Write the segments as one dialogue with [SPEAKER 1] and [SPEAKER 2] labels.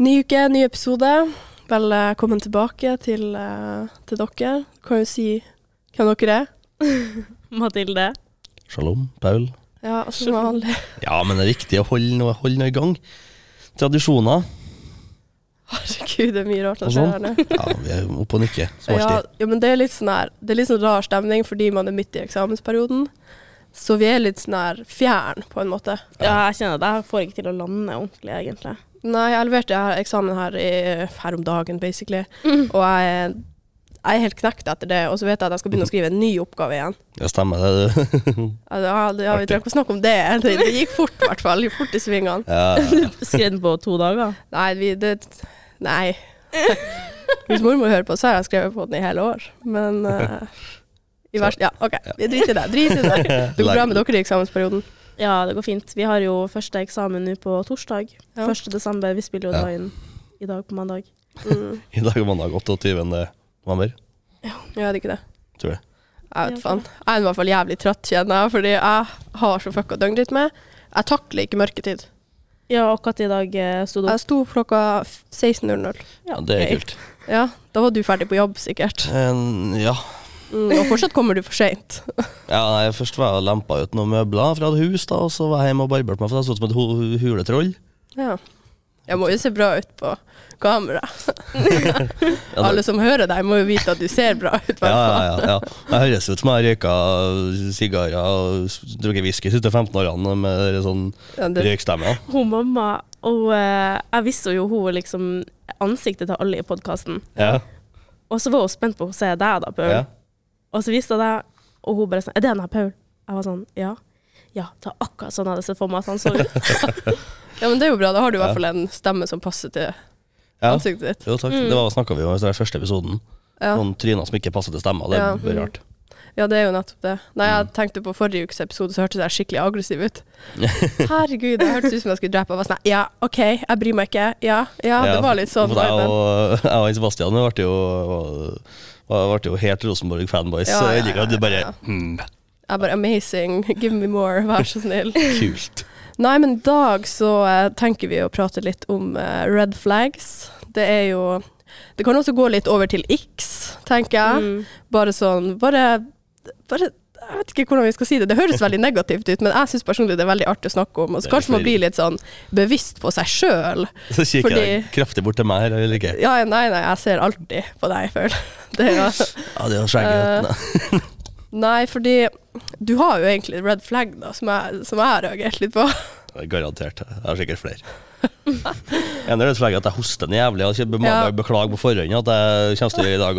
[SPEAKER 1] Ny uke, ny episode. Velkommen tilbake til, eh, til dere. Kan jo si hvem dere er.
[SPEAKER 2] Mathilde.
[SPEAKER 3] Shalom, Paul.
[SPEAKER 1] Ja, som vanlig.
[SPEAKER 3] Ja, men det er viktig å holde noe, holde noe i gang. Tradisjoner.
[SPEAKER 1] Herregud, det er mye rart som
[SPEAKER 3] Og
[SPEAKER 1] skjer
[SPEAKER 3] sånn.
[SPEAKER 1] her nå.
[SPEAKER 3] Ja, vi er oppe og nikker, som
[SPEAKER 1] Ja,
[SPEAKER 3] alltid.
[SPEAKER 1] ja, men det er litt sånn her Det er litt sånn rar stemning fordi man er midt i eksamensperioden. Så vi er litt sånn her fjern, på en måte.
[SPEAKER 2] Ja, jeg kjenner at jeg får ikke til å lande ordentlig, egentlig.
[SPEAKER 1] Nei, jeg leverte her eksamen her, i, her om dagen, basically. Og jeg, jeg er helt knekt etter det. Og så vet jeg at jeg skal begynne å skrive en ny oppgave igjen.
[SPEAKER 3] Ja, stemmer det,
[SPEAKER 1] Ja, det-
[SPEAKER 3] du.
[SPEAKER 1] ja, det- ja, vi
[SPEAKER 3] Artig.
[SPEAKER 1] trenger ikke å snakke om det. Det, det gikk fort, i hvert fall. Gikk Fort i svingene.
[SPEAKER 3] Ja,
[SPEAKER 2] Skrev den på to dager.
[SPEAKER 1] Nei, vi, det Nei. Hvis mormor hører på, så har jeg skrevet på den i hele år. Men eh, i verst, Ja, OK. Vi driter i det. Drit i det. Det går bra med dere i eksamensperioden.
[SPEAKER 2] Ja, det går fint. Vi har jo første eksamen nå på torsdag.
[SPEAKER 1] Ja.
[SPEAKER 2] 1. desember. Vi spiller jo
[SPEAKER 3] Ja.
[SPEAKER 2] da inn i dag på mandag.
[SPEAKER 1] Mm.
[SPEAKER 3] I dag er mandag 28. november,
[SPEAKER 1] Ja, det er ikke det.
[SPEAKER 3] tror jeg.
[SPEAKER 1] Jeg vet faen. Jeg er i hvert fall jævlig trøtt, kjenner jeg, fordi jeg har så fucka døgnrytme. Jeg takler ikke mørketid.
[SPEAKER 2] Ja, akkurat i dag eh, sto det
[SPEAKER 1] Jeg sto opp klokka 16.00.
[SPEAKER 3] Ja, det er
[SPEAKER 2] ok.
[SPEAKER 3] kult.
[SPEAKER 1] Ja, da var du ferdig på jobb, sikkert.
[SPEAKER 3] Eh, ja.
[SPEAKER 1] Mm, og fortsatt kommer du for seint.
[SPEAKER 3] ja nei, først var jeg og lempa ut noen møbler fra et hus, da, og så var jeg hjemme og barberte meg, for jeg så ut som et hu- huletroll.
[SPEAKER 1] Ja. Jeg må jo se bra ut på kamera.
[SPEAKER 3] Ja, det-
[SPEAKER 1] Alle som hører deg, må jo vite at du ser bra ut.
[SPEAKER 3] Ja,
[SPEAKER 1] hvertfall.
[SPEAKER 3] ja, ja, ja. Jeg høres ut som jeg har røyka sigarer og s- drukket whisky de siste 15 årene med sånn
[SPEAKER 1] Ja, det-
[SPEAKER 3] røykstemme.
[SPEAKER 2] hun mamma, og eh, jeg visste jo hun var liksom ansiktet til alle i podkasten.
[SPEAKER 3] Ja.
[SPEAKER 2] Og så var hun spent på å se deg da, Paul.
[SPEAKER 3] Ja.
[SPEAKER 2] Og så viste jeg deg, og hun bare sånn Er det han her, Paul? Jeg var sånn, ja. Ja, det var akkurat sånn jeg hadde sett for meg at han så ut.
[SPEAKER 1] Ja, men det er jo bra. Da har du i
[SPEAKER 3] Ja.
[SPEAKER 1] hvert fall en stemme som passer til
[SPEAKER 3] ja.
[SPEAKER 1] ansiktet ditt.
[SPEAKER 3] Jo, takk. Det var snakka vi om i den første episoden.
[SPEAKER 1] Ja.
[SPEAKER 3] Noen tryner som ikke passer til stemma. Det
[SPEAKER 1] Ja.
[SPEAKER 3] er bare rart.
[SPEAKER 1] ja, det er jo nettopp det. Nei,
[SPEAKER 3] Mm.
[SPEAKER 1] jeg tenkte på forrige ukes episode, så hørtes jeg skikkelig aggressiv ut. Herregud, det hørtes ut som jeg skulle drepe. Jeg var sånn ja, OK, jeg bryr meg ikke. Ja, ja, det var litt sånn.
[SPEAKER 3] For Jeg
[SPEAKER 1] viben.
[SPEAKER 3] og, jeg og Sebastian ble jo, ble jo helt Rosenborg-fanboys.
[SPEAKER 1] Ja,
[SPEAKER 3] så
[SPEAKER 1] ja,
[SPEAKER 3] jeg liker at det
[SPEAKER 1] ja,
[SPEAKER 3] bare
[SPEAKER 1] ja.
[SPEAKER 3] hmm,
[SPEAKER 1] Jeg bare amazing, give me more, vær så snill.
[SPEAKER 3] Kult.
[SPEAKER 1] Nei, men i dag så eh, tenker vi å prate litt om eh, red flags. Det er jo Det kan også gå litt over til X, tenker jeg.
[SPEAKER 2] Mm.
[SPEAKER 1] Bare sånn bare, bare Jeg vet ikke hvordan vi skal si det. Det høres veldig negativt ut, men jeg syns personlig det er veldig artig å snakke om. Og så
[SPEAKER 3] Det er
[SPEAKER 1] kanskje man
[SPEAKER 3] litt
[SPEAKER 1] blir litt sånn bevisst på seg sjøl.
[SPEAKER 3] Så kikker
[SPEAKER 1] Fordi-
[SPEAKER 3] jeg kraftig bort til meg her. Jeg liker.
[SPEAKER 1] Ja, nei, nei, jeg ser alltid på deg, føler jeg. Det er jo-
[SPEAKER 3] Ja, det er jo skjegget.
[SPEAKER 1] Eh. Nei, fordi du har jo egentlig red flag, da, som jeg, som jeg har reagert litt på.
[SPEAKER 3] Det er Garantert. Jeg har sikkert flere. En er det flagget at jeg hoster en jævlig. Jeg må
[SPEAKER 1] Ja.
[SPEAKER 3] bare beklage på forhånd at jeg kommer til å gjøre i dag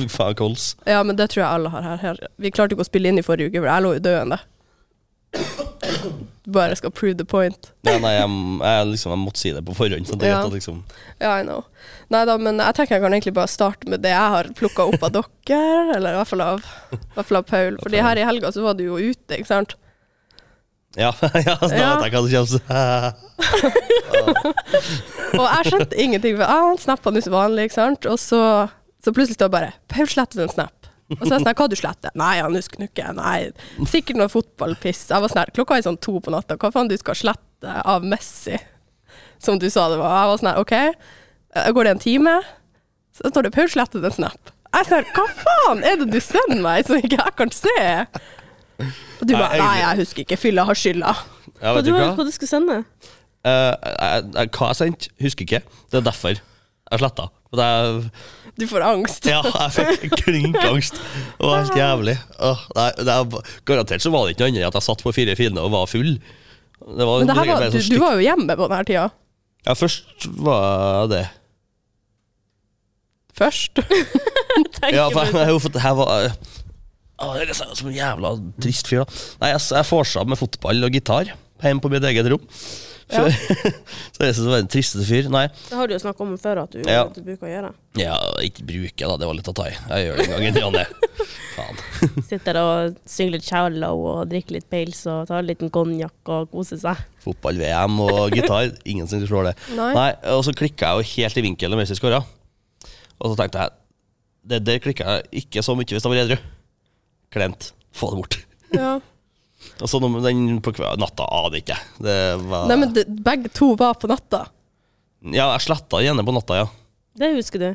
[SPEAKER 3] òg. Faen kols.
[SPEAKER 1] Ja, men det tror jeg alle har her. her. Vi klarte ikke å spille inn i forrige uke, for jeg lå jo døende. Bare skal prove the point.
[SPEAKER 3] Nei, nei, jeg, jeg, liksom, jeg måtte si det på forhånd. Så det er
[SPEAKER 1] Ja.
[SPEAKER 3] greit at liksom
[SPEAKER 1] Ja, I know. Nei da, men jeg tenker jeg kan egentlig bare starte med det jeg har plukka opp av dere, eller i hvert fall av, i hvert fall av Paul. Fordi her i helga så var du jo ute, ikke sant?
[SPEAKER 3] Ja, ja, da
[SPEAKER 1] Ja.
[SPEAKER 3] vet jeg hva som kommer.
[SPEAKER 1] Og jeg skjønte ingenting, for ah, han snappa nå som vanlig, ikke sant? Og så, så plutselig står det bare Paul slettet en snap. Og så er jeg sånn her, hva du sletter? Nei, han husker nå ikke. Nei, sikkert noe fotballpiss. Jeg var sånn her, klokka er sånn to på natta, hva faen du skal slette av Messi? Som du sa det var. Jeg var sånn her, ok, eh, går det en time? Så står det Paul slettet en snap. Jeg er sånn her, hva faen er det du sender meg som ikke jeg kan se? Og du
[SPEAKER 3] Nei,
[SPEAKER 1] bare,
[SPEAKER 3] egentlig-
[SPEAKER 1] nei, jeg husker ikke, fylla har skylda.
[SPEAKER 3] Ja,
[SPEAKER 2] Hva
[SPEAKER 3] vet
[SPEAKER 2] du,
[SPEAKER 3] du hva?
[SPEAKER 2] hva du skulle sende?
[SPEAKER 3] Eh, jeg- jeg- hva jeg sendte, husker ikke. Det er derfor jeg sletta. For jeg,
[SPEAKER 1] Du får angst.
[SPEAKER 3] ja, jeg fikk klinkangst. Det var helt jævlig. Åh, nei, det er, garantert så var det ikke noe annet enn at jeg satt på fire fine og var full. Det var,
[SPEAKER 1] Men det her
[SPEAKER 3] sikkert
[SPEAKER 1] var,
[SPEAKER 3] bare
[SPEAKER 1] du, du
[SPEAKER 3] sånn stykk-
[SPEAKER 1] var jo hjemme på denne tida.
[SPEAKER 3] Ja, først var jeg det.
[SPEAKER 1] Først.
[SPEAKER 2] Tenker
[SPEAKER 3] Ja, for
[SPEAKER 2] på det.
[SPEAKER 3] jeg, jo, for jeg var Åh, det er sånn som en jævla trist fyr, da. Nei, jeg, jeg vorsa med fotball og gitar hjemme på mitt eget rom.
[SPEAKER 1] Ja.
[SPEAKER 3] Så, så jeg synes det var den tristeste fyr. Nei.
[SPEAKER 2] Det har du jo snakka om før at du,
[SPEAKER 3] Ja.
[SPEAKER 2] at du bruker å gjøre.
[SPEAKER 3] Ja, ikke bruke, da. Det var litt å ta i. Jeg gjør det en gang i ny og ne. Faen.
[SPEAKER 2] Sitter og synger litt shallow og drikker litt pils og tar en liten konjakk og koser seg.
[SPEAKER 3] Fotball-VM og gitar. Ingen som slår det.
[SPEAKER 1] Nei.
[SPEAKER 3] Og så klikka jeg jo helt i vinkel mens jeg skåra. Og så tenkte jeg det der klikka jeg ikke så mye hvis jeg var edru. Klemt. Få det bort.
[SPEAKER 1] Ja.
[SPEAKER 3] Og så ah, den på kve- natta aner ikke jeg. Det var
[SPEAKER 1] Nei, men det, begge to var på natta.
[SPEAKER 3] Ja, jeg sletta den gjerne på natta, ja.
[SPEAKER 2] Det husker du.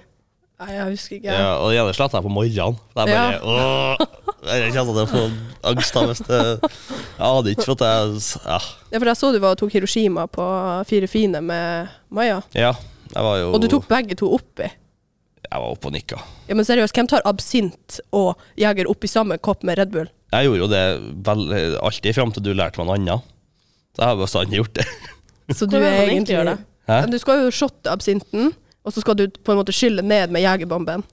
[SPEAKER 1] Nei, jeg husker ikke.
[SPEAKER 3] ja. og gjerne sletta jeg på morgenen. For jeg
[SPEAKER 1] Ja.
[SPEAKER 3] bare åh, Jeg kjenner at jeg får angst av hvis det Jeg hadde ikke fått jeg, ja.
[SPEAKER 1] Ja, for jeg så du var og tok Hiroshima på Fire fine med Maja.
[SPEAKER 3] ja, jeg var jo
[SPEAKER 1] Og du tok begge to oppi.
[SPEAKER 3] Jeg var oppe og nikka.
[SPEAKER 1] Ja, men seriøst, hvem tar absint og jeger oppi samme kopp med Red Bull?
[SPEAKER 3] Jeg gjorde jo det vel, alltid fram til du lærte meg noe annet. Så jeg har bestandig gjort det.
[SPEAKER 1] Så du er
[SPEAKER 2] Hvordan er man egentlig
[SPEAKER 1] egentlig
[SPEAKER 2] gjør det?
[SPEAKER 3] Hæ?
[SPEAKER 1] Du skal jo shotte absinten, og så skal du på en måte skylle ned med jegerbomben.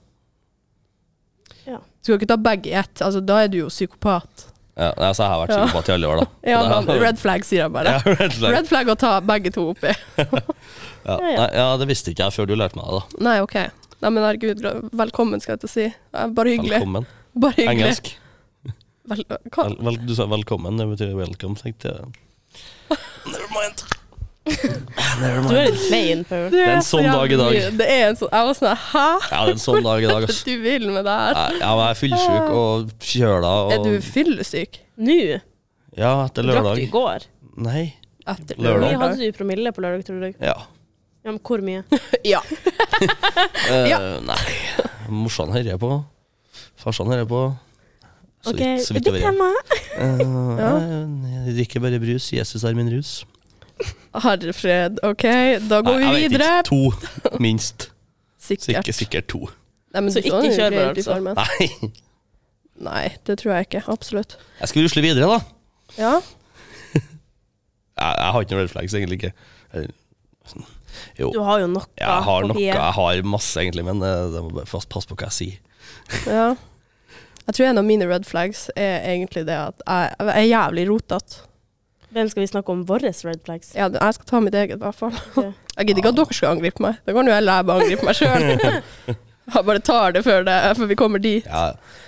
[SPEAKER 2] Ja.
[SPEAKER 1] Du skal ikke ta begge i ett. Altså, da er du jo psykopat.
[SPEAKER 3] Ja, nei, så jeg har vært
[SPEAKER 1] Ja.
[SPEAKER 3] psykopat i alle år, da.
[SPEAKER 1] Ja,
[SPEAKER 3] Så det
[SPEAKER 1] men
[SPEAKER 3] er-
[SPEAKER 1] red flag, sier jeg bare.
[SPEAKER 3] Ja, red flag.
[SPEAKER 1] Red flag å ta begge to oppi.
[SPEAKER 3] Ja.
[SPEAKER 2] Ja, ja.
[SPEAKER 3] Nei, ja, det visste ikke jeg før du lærte meg det. da.
[SPEAKER 1] Nei, OK. Nei, men herregud, gra- velkommen, skal jeg til å si. Ja, Bare hyggelig.
[SPEAKER 3] Velkommen.
[SPEAKER 1] Bare hyggelig.
[SPEAKER 3] Engelsk.
[SPEAKER 1] Vel, hva?
[SPEAKER 3] Vel, vel, du sa velkommen, det betyr welcome, tenkte jeg. Never mind. Never
[SPEAKER 2] Du er
[SPEAKER 3] mind.
[SPEAKER 2] litt plain, Paul.
[SPEAKER 1] Det
[SPEAKER 3] er en
[SPEAKER 1] så
[SPEAKER 3] sånn dag i dag.
[SPEAKER 1] jævlig- Det er en sånn Jeg var sånn Hæ?
[SPEAKER 3] Ja, det er en sånn dag i dag,
[SPEAKER 1] Hva er det
[SPEAKER 3] ass.
[SPEAKER 1] du vil med det her?
[SPEAKER 3] Nei, Ja, men jeg er fyllsjuk og kjøla
[SPEAKER 1] Er du
[SPEAKER 3] og
[SPEAKER 1] fyllesyk?
[SPEAKER 2] Nå?
[SPEAKER 3] Ja,
[SPEAKER 2] Drakk du
[SPEAKER 3] etter
[SPEAKER 2] i
[SPEAKER 3] lørdag.
[SPEAKER 2] går?
[SPEAKER 3] Nei.
[SPEAKER 1] Etter
[SPEAKER 2] Hvor
[SPEAKER 3] Lørdag.
[SPEAKER 2] mye hadde du i promille på lørdag, tror du?
[SPEAKER 3] Ja.
[SPEAKER 2] Ja, men hvor mye?
[SPEAKER 1] Ja.
[SPEAKER 3] Eh,
[SPEAKER 1] Ja.
[SPEAKER 3] Nei. Morsan hører på. Farsan hører på. Så
[SPEAKER 2] Ok,
[SPEAKER 3] vidt- så vidt jeg
[SPEAKER 2] ditt
[SPEAKER 3] vet.
[SPEAKER 2] tema.
[SPEAKER 3] Eh,
[SPEAKER 1] Ja.
[SPEAKER 3] Jeg drikker bare brus. Jesus er min rus.
[SPEAKER 1] Herre fred. OK, da går
[SPEAKER 3] Nei,
[SPEAKER 1] vi
[SPEAKER 3] jeg vet
[SPEAKER 1] videre.
[SPEAKER 3] ikke. To, minst.
[SPEAKER 1] Sikkert.
[SPEAKER 3] Sikkert, sikkert to.
[SPEAKER 1] Nei, men
[SPEAKER 2] Så
[SPEAKER 1] du sånn
[SPEAKER 2] ikke kjør på,
[SPEAKER 1] helt i
[SPEAKER 2] altså.
[SPEAKER 1] formen.
[SPEAKER 3] Nei.
[SPEAKER 1] Nei, det tror jeg ikke. Absolutt.
[SPEAKER 3] Jeg skal rusle videre, da.
[SPEAKER 1] Ja.
[SPEAKER 3] Jeg, jeg har ikke noen red flags, egentlig ikke. Eller, sånn. Jo,
[SPEAKER 2] Du har jo noe.
[SPEAKER 3] jeg har
[SPEAKER 2] på
[SPEAKER 3] noe,
[SPEAKER 2] pie.
[SPEAKER 3] jeg har masse, egentlig, men eh, jeg må bare fast passe på hva jeg sier.
[SPEAKER 1] ja. Jeg tror en av mine red flags er egentlig det at jeg, jeg er jævlig rotete.
[SPEAKER 2] Hvem skal vi snakke om våre red flags?
[SPEAKER 1] Ja, jeg skal ta mitt eget, i hvert fall.
[SPEAKER 2] Ok.
[SPEAKER 1] Jeg gidder ikke at dere skal angripe meg. Da kan jo jeg lære meg å angripe meg sjøl. Jeg bare tar det før, det før vi kommer dit.
[SPEAKER 3] Ja,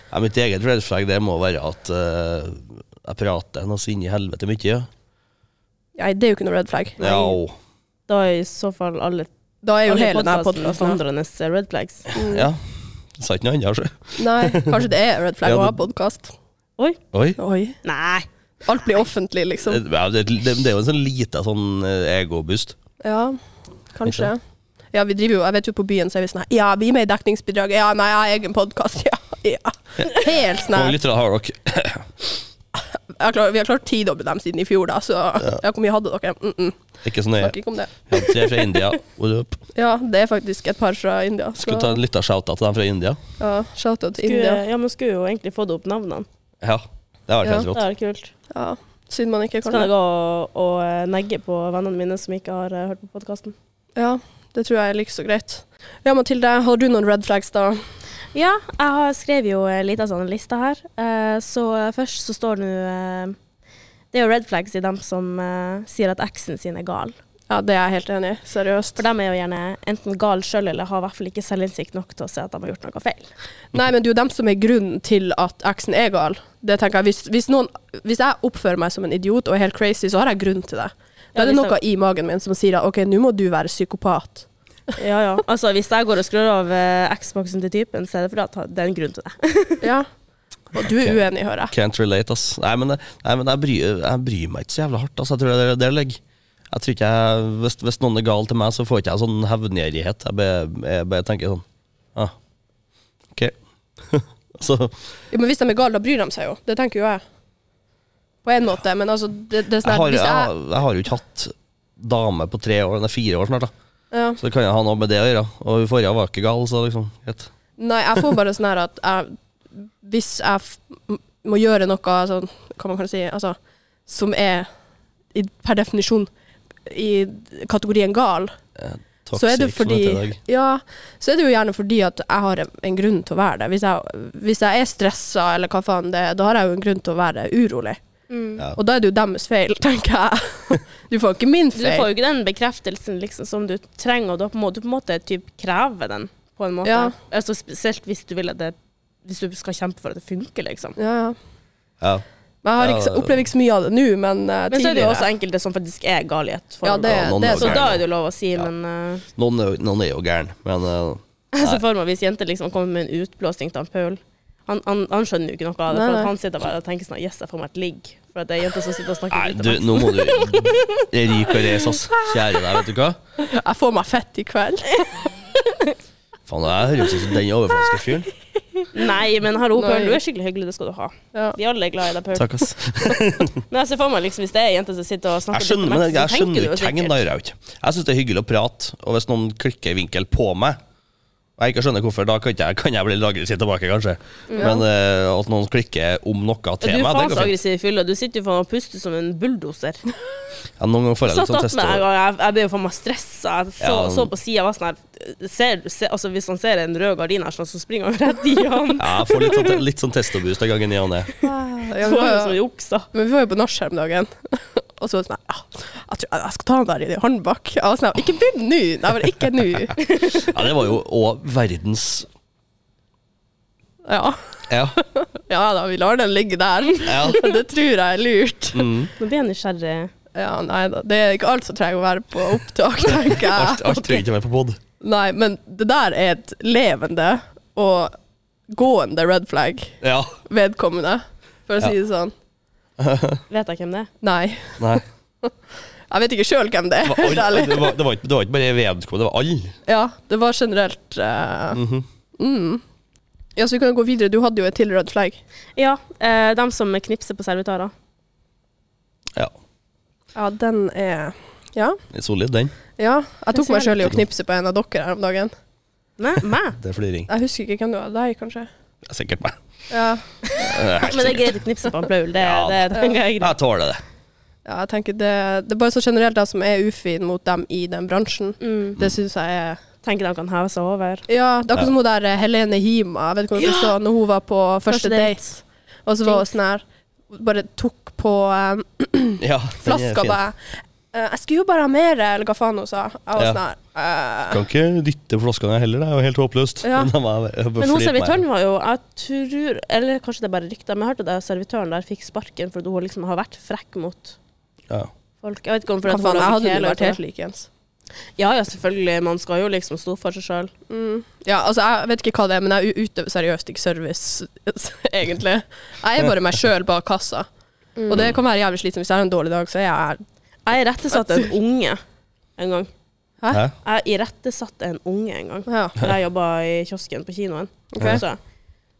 [SPEAKER 3] ja, mitt eget red flag det må være at eh, jeg prater noe så inn i helvete mye. Ja.
[SPEAKER 1] Nei, det er jo ikke noe red flag.
[SPEAKER 2] Nei.
[SPEAKER 3] Ja, og-
[SPEAKER 2] Da er i så fall alle,
[SPEAKER 1] Da er jo
[SPEAKER 2] alle
[SPEAKER 1] hele denne podkasten
[SPEAKER 2] vandrenes red flags.
[SPEAKER 3] ja. Jeg sa ikke noe annet. altså.
[SPEAKER 1] Nei, kanskje det er red flag å
[SPEAKER 3] Ja,
[SPEAKER 1] ha
[SPEAKER 3] det-
[SPEAKER 1] podkast.
[SPEAKER 3] Oi.
[SPEAKER 1] Oi.
[SPEAKER 2] Nei!
[SPEAKER 1] Alt blir offentlig, liksom.
[SPEAKER 3] Det, Eh, ja, det, det, det er jo en sånn liten sånn eh, egoboost.
[SPEAKER 1] Ja, kanskje. Ja, vi driver jo, jeg vet jo på byen, så er vi sånn her, Ja, vi er med i dekningsbidraget. Ja, nei, jeg har egen podkast. Ja, ja. Helt
[SPEAKER 3] Hvor mange
[SPEAKER 1] snart.
[SPEAKER 3] lyttere har dere?
[SPEAKER 1] Jeg har klart- Vi har klart tidoble dem siden i fjor, da, så ja, hvor mye hadde dere? Mm -mm.
[SPEAKER 3] Ikke så nøye.
[SPEAKER 1] Snakker ikke om det.
[SPEAKER 3] Jeg har tre fra India. What up?
[SPEAKER 1] Ja, det er faktisk et par fra India. Så,
[SPEAKER 3] Skulle ta en liten shout-out til dem fra India.
[SPEAKER 1] ja, Shout-out til
[SPEAKER 2] Skulle,
[SPEAKER 1] India.
[SPEAKER 2] ja, men skulle jo egentlig fått opp navnene.
[SPEAKER 3] Ja, det har vært
[SPEAKER 1] Ja.
[SPEAKER 3] helt
[SPEAKER 2] Det
[SPEAKER 3] rått.
[SPEAKER 2] er kult.
[SPEAKER 1] Ja, Synd man ikke
[SPEAKER 2] Så
[SPEAKER 1] kan
[SPEAKER 2] kan jeg
[SPEAKER 1] det.
[SPEAKER 2] gå og, og eh, negge på vennene mine som ikke har eh, hørt på podkasten.
[SPEAKER 1] Ja, det tror jeg er like så greit. Ja, Mathilde, har du noen red flags, da?
[SPEAKER 2] Ja, jeg har skrevet jo en liten sånn liste her. Eh, Så eh, først så står nå eh, Det er jo red flags i dem som eh, sier at eksen sin er gal.
[SPEAKER 1] Ja, det er jeg helt enig i. Seriøst.
[SPEAKER 2] For dem er jo gjerne enten gal sjøl eller har i hvert fall ikke selvinnsikt nok til å se at de har gjort noe feil.
[SPEAKER 1] Nei, men det er jo dem som er grunnen til at eksen er gal. Det tenker jeg, hvis, hvis, noen, hvis jeg oppfører meg som en idiot og er helt crazy, så har jeg grunn til det. Da
[SPEAKER 2] Ja,
[SPEAKER 1] er det
[SPEAKER 2] hvis
[SPEAKER 1] noe i magen min som sier at ok, nå må du være psykopat.
[SPEAKER 2] Ja, ja. Altså, hvis jeg går og skrur av eh, Xboxen til typen, så er det fordi at det er en grunn til det.
[SPEAKER 1] Ja. Og du er
[SPEAKER 3] Ok.
[SPEAKER 1] uenig, hører jeg.
[SPEAKER 3] Can't relate, ass. Nei, men, nei, men jeg, bryr, jeg bryr meg ikke så jævla hardt. Ass. Jeg tror det er der det ligger. Jeg tror ikke jeg, hvis, hvis noen er gal til meg, så får ikke jeg sånn hevngjerrighet. Jeg bare jeg bare tenker sånn ah, OK. så
[SPEAKER 1] Jo, men hvis de er gale, da bryr de seg jo. Det tenker jo jeg. På en måte, men altså det, det er sånn
[SPEAKER 3] jeg
[SPEAKER 1] at
[SPEAKER 3] har,
[SPEAKER 1] hvis
[SPEAKER 3] jeg, har-
[SPEAKER 1] jeg,
[SPEAKER 3] jeg har jo ikke hatt dame på tre år, hun er fire år snart, da.
[SPEAKER 1] ja.
[SPEAKER 3] så det kan jo ha noe med det å gjøre. Og hun forrige var ikke gal, så liksom greit.
[SPEAKER 1] Nei, jeg får bare sånn her at jeg, hvis jeg f m- må gjøre noe sånn, hva man kan si, altså, som er i, per definisjon i kategorien gal,
[SPEAKER 3] Toxic,
[SPEAKER 1] så er det
[SPEAKER 3] som heter i
[SPEAKER 1] fordi
[SPEAKER 3] dag.
[SPEAKER 1] Ja, så er det jo gjerne fordi at jeg har en- en grunn til å være det. Hvis jeg, hvis jeg er stressa eller hva faen det er, da har jeg jo en grunn til å være urolig.
[SPEAKER 2] Mm.
[SPEAKER 3] Ja.
[SPEAKER 1] Og da er det jo deres feil, tenker jeg. Du får ikke min
[SPEAKER 2] Du får
[SPEAKER 1] feil.
[SPEAKER 2] jo ikke den bekreftelsen liksom, som du trenger, og da må du på en måte typ, kreve den. På en måte.
[SPEAKER 1] Ja.
[SPEAKER 2] Altså, spesielt hvis du, vil at det, hvis du skal kjempe for at det funker, liksom.
[SPEAKER 1] Ja, ja.
[SPEAKER 3] Ja.
[SPEAKER 1] Men jeg har ikke,
[SPEAKER 3] Ja,
[SPEAKER 1] så- opplever ikke så mye av det nå, men eh,
[SPEAKER 2] Men så er det jo også
[SPEAKER 1] tidligere.
[SPEAKER 2] enkelte som faktisk er gale i et
[SPEAKER 1] Ja,
[SPEAKER 2] forhold.
[SPEAKER 1] det,
[SPEAKER 3] Ja, noen
[SPEAKER 1] det er
[SPEAKER 3] er
[SPEAKER 2] så
[SPEAKER 1] sånn.
[SPEAKER 3] gærne.
[SPEAKER 2] da er det jo lov å si,
[SPEAKER 3] Ja.
[SPEAKER 2] men eh,
[SPEAKER 3] Noen, er jo- noen er jo gæren, men eh,
[SPEAKER 2] Jeg ser for meg hvis jenter liksom kommer med en utblåsning til han Paul. Han, han, han skjønner jo ikke noe av det,
[SPEAKER 1] Nei,
[SPEAKER 2] for
[SPEAKER 1] nei.
[SPEAKER 2] at han sitter bare og tenker sånn Yes, jeg får meg et ligg. For for at det er jenter som sitter og
[SPEAKER 3] Nei,
[SPEAKER 2] snakker
[SPEAKER 3] du, nå må du Ryk og reis, ass. Kjære deg, vet du hva.
[SPEAKER 1] Jeg får meg fett i kveld.
[SPEAKER 3] Faen, jeg høres ut som den overfladiske fyren.
[SPEAKER 2] Nei, men hallo, Pearl,
[SPEAKER 1] Nei.
[SPEAKER 2] du er skikkelig hyggelig, det skal du ha.
[SPEAKER 1] Ja.
[SPEAKER 2] Vi alle er glad i deg, Pearl.
[SPEAKER 3] Takk, ass.
[SPEAKER 2] Men jeg ser for meg liksom, hvis det er ei jente som sitter og snakker
[SPEAKER 3] Jeg skjønner,
[SPEAKER 2] dritt
[SPEAKER 3] men
[SPEAKER 2] om
[SPEAKER 3] jeg,
[SPEAKER 2] Max, så tenker
[SPEAKER 3] jeg
[SPEAKER 2] du
[SPEAKER 3] skjønner
[SPEAKER 2] jo
[SPEAKER 3] ikke hengen
[SPEAKER 2] sikkert-
[SPEAKER 3] der ut. Jeg syns det er hyggelig å prate, og hvis noen klikker i vinkel på meg og jeg ikke skjønner hvorfor, da kan, ikke jeg, kan jeg bli lagret sitt tilbake, kanskje. Men eh, at noen klikker om noe
[SPEAKER 2] Du
[SPEAKER 3] til
[SPEAKER 2] er faen
[SPEAKER 3] meg, det
[SPEAKER 2] så
[SPEAKER 3] går fint.
[SPEAKER 2] aggressiv i fylla. Du sitter jo faen og puster som en bulldoser.
[SPEAKER 3] Ja, noen ganger får jeg
[SPEAKER 2] Satt
[SPEAKER 3] litt sånn
[SPEAKER 2] opp med en
[SPEAKER 3] testover.
[SPEAKER 2] gang, jeg, jeg ble jo faen meg stressa. Jeg så,
[SPEAKER 3] Ja.
[SPEAKER 2] så på sida var sånn her ser, du- se- altså, Hvis han ser en rød gardin her, sånn, så springer han rett i han.
[SPEAKER 3] Ja, jeg får litt sånn, litt sånn testoboost en gang i ny og ne.
[SPEAKER 1] Ja,
[SPEAKER 2] Så
[SPEAKER 1] vi
[SPEAKER 2] var jo
[SPEAKER 1] var jo,
[SPEAKER 2] som en okse.
[SPEAKER 1] men vi var jo på nachspiel om dagen. Og så var det sånn ah, jeg, tror, jeg skal ta han der i håndbak. Jeg var sånn, ikke begynn nå! Nei, bare ikke nå.
[SPEAKER 3] Ja, det var jo òg verdens
[SPEAKER 1] Ja.
[SPEAKER 3] Ja.
[SPEAKER 1] ja da, vi lar den ligge der.
[SPEAKER 3] ja.
[SPEAKER 1] Det tror jeg er lurt.
[SPEAKER 3] Mm.
[SPEAKER 2] Nå blir jeg nysgjerrig.
[SPEAKER 1] Ja, nei da. Det er ikke alt som trenger å være på opptak, tenker jeg.
[SPEAKER 3] Alt, alt trenger ikke være på pod.
[SPEAKER 1] Nei, men det der er et levende og gående red flag
[SPEAKER 3] Ja.
[SPEAKER 1] vedkommende, for å si
[SPEAKER 3] Ja.
[SPEAKER 1] det sånn.
[SPEAKER 2] Vet jeg hvem det er?
[SPEAKER 1] Nei.
[SPEAKER 3] Nei.
[SPEAKER 1] Jeg vet ikke sjøl hvem det
[SPEAKER 3] Det
[SPEAKER 1] er,
[SPEAKER 3] var,
[SPEAKER 1] helt
[SPEAKER 3] all,
[SPEAKER 1] ærlig.
[SPEAKER 3] det, var, det, var ikke, det var ikke bare vedkommende, det var alle.
[SPEAKER 1] Ja, det var generelt eh, mm. Ja, så vi kan jo gå videre. Du hadde jo et til red flag.
[SPEAKER 2] Ja, eh, dem som knipser på servitører.
[SPEAKER 3] Ja.
[SPEAKER 1] Ja, den er Ja.
[SPEAKER 3] Litt solid, den.
[SPEAKER 1] ja. Jeg tok meg sjøl i å
[SPEAKER 3] Spesielt.
[SPEAKER 1] knipse på en av dere her om dagen.
[SPEAKER 2] Nei, meg?
[SPEAKER 3] Det er fliring.
[SPEAKER 1] Jeg husker ikke hvem det var. Deg, kanskje?
[SPEAKER 3] Det er Sikkert meg.
[SPEAKER 1] Ja.
[SPEAKER 3] Det er
[SPEAKER 2] Men
[SPEAKER 3] helt
[SPEAKER 2] det er
[SPEAKER 3] sikkert.
[SPEAKER 2] greit å knipse på en plaul. Det,
[SPEAKER 3] Ja,
[SPEAKER 2] det, tenker jeg er greit.
[SPEAKER 3] Jeg tåler det.
[SPEAKER 1] ja jeg tenker det, det er bare så generelt, jeg som er ufin mot dem i den bransjen.
[SPEAKER 2] Mm.
[SPEAKER 1] Det syns jeg er
[SPEAKER 2] Tenker de kan heve seg over.
[SPEAKER 1] Ja, det er akkurat som hun der eh, Helene Hima. Jeg vet ikke om dere så når hun var på første date. Og så var hun sånn her Bare tok på um,
[SPEAKER 3] Ja,
[SPEAKER 1] flaska og bare eh, 'Jeg skulle jo bare ha mer', eller hva faen hun sa. Jeg var
[SPEAKER 3] Ja.
[SPEAKER 1] sånn her eh,
[SPEAKER 3] Kan ikke dytte flaska ned heller, det er jo helt håpløst.
[SPEAKER 1] Ja.
[SPEAKER 3] Men, da må jeg- jeg må
[SPEAKER 2] Men hun
[SPEAKER 3] flirte med
[SPEAKER 2] servitøren var jo Jeg tror Eller kanskje det er bare rykter, men jeg hørte at servitøren der fikk sparken fordi hun liksom har vært frekk mot
[SPEAKER 3] henne. Ja.
[SPEAKER 2] folk. Jeg vet ikke om fordi
[SPEAKER 1] Hva
[SPEAKER 2] at hun
[SPEAKER 1] faen, jeg hadde
[SPEAKER 2] lager kjeler
[SPEAKER 1] jo vært
[SPEAKER 2] til
[SPEAKER 1] helt likens.
[SPEAKER 2] det. Ja ja, selvfølgelig. Man skal jo liksom stå for seg sjøl.
[SPEAKER 1] Mm. Ja, altså, jeg vet ikke hva det er, men jeg u- utøver seriøst ikke service, egentlig. Jeg er bare meg sjøl bak kassa. Og det kan være jævlig slitsomt. Hvis jeg har en dårlig dag, så er jeg
[SPEAKER 2] Jeg irettesatte en unge en gang.
[SPEAKER 1] Hæ?
[SPEAKER 3] Hæ?
[SPEAKER 2] Jeg irettesatte en unge en gang.
[SPEAKER 1] Ja.
[SPEAKER 2] For jeg jobba i kiosken på kinoen.
[SPEAKER 1] Ok.
[SPEAKER 2] Så,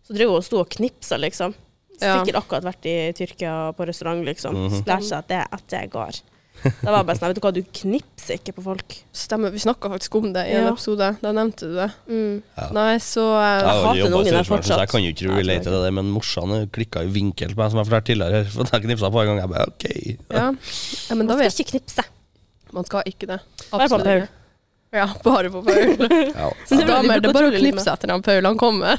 [SPEAKER 2] så drev hun og sto og knipsa, liksom.
[SPEAKER 1] Ja. Mhm.
[SPEAKER 2] Sikkert akkurat vært i Tyrkia på restaurant, liksom. Så lærte seg at det, at det går. Da var jeg bare sånn, vet du hva, du knipser ikke på folk.
[SPEAKER 1] Stemmer. Vi snakka faktisk om det i en
[SPEAKER 2] Ja.
[SPEAKER 1] episode. Da nevnte du det.
[SPEAKER 2] Mm.
[SPEAKER 3] Ja.
[SPEAKER 1] Nei, så eh,
[SPEAKER 3] Jeg, har aldri
[SPEAKER 2] hater den
[SPEAKER 3] jobbet i
[SPEAKER 2] ungen der
[SPEAKER 3] servitøren, så jeg
[SPEAKER 2] fortsatt.
[SPEAKER 3] kan jo ikke
[SPEAKER 2] Nei,
[SPEAKER 3] relate til det, der, men morsan klikka i vinkel på meg, som jeg fortalte tidligere. her, For jeg knipsa på en gang. Jeg bare OK.
[SPEAKER 1] Ja. ja, men da
[SPEAKER 2] Man skal
[SPEAKER 1] vet
[SPEAKER 2] ikke knipse.
[SPEAKER 1] man skal ikke det.
[SPEAKER 2] Bare på Paul.
[SPEAKER 1] ikke. Ja, bare på Paul.
[SPEAKER 3] Ja.
[SPEAKER 2] Så det er veldig
[SPEAKER 1] Damer, det er bare å
[SPEAKER 2] utrolig litt
[SPEAKER 1] knipse etter han Paul, han kommer.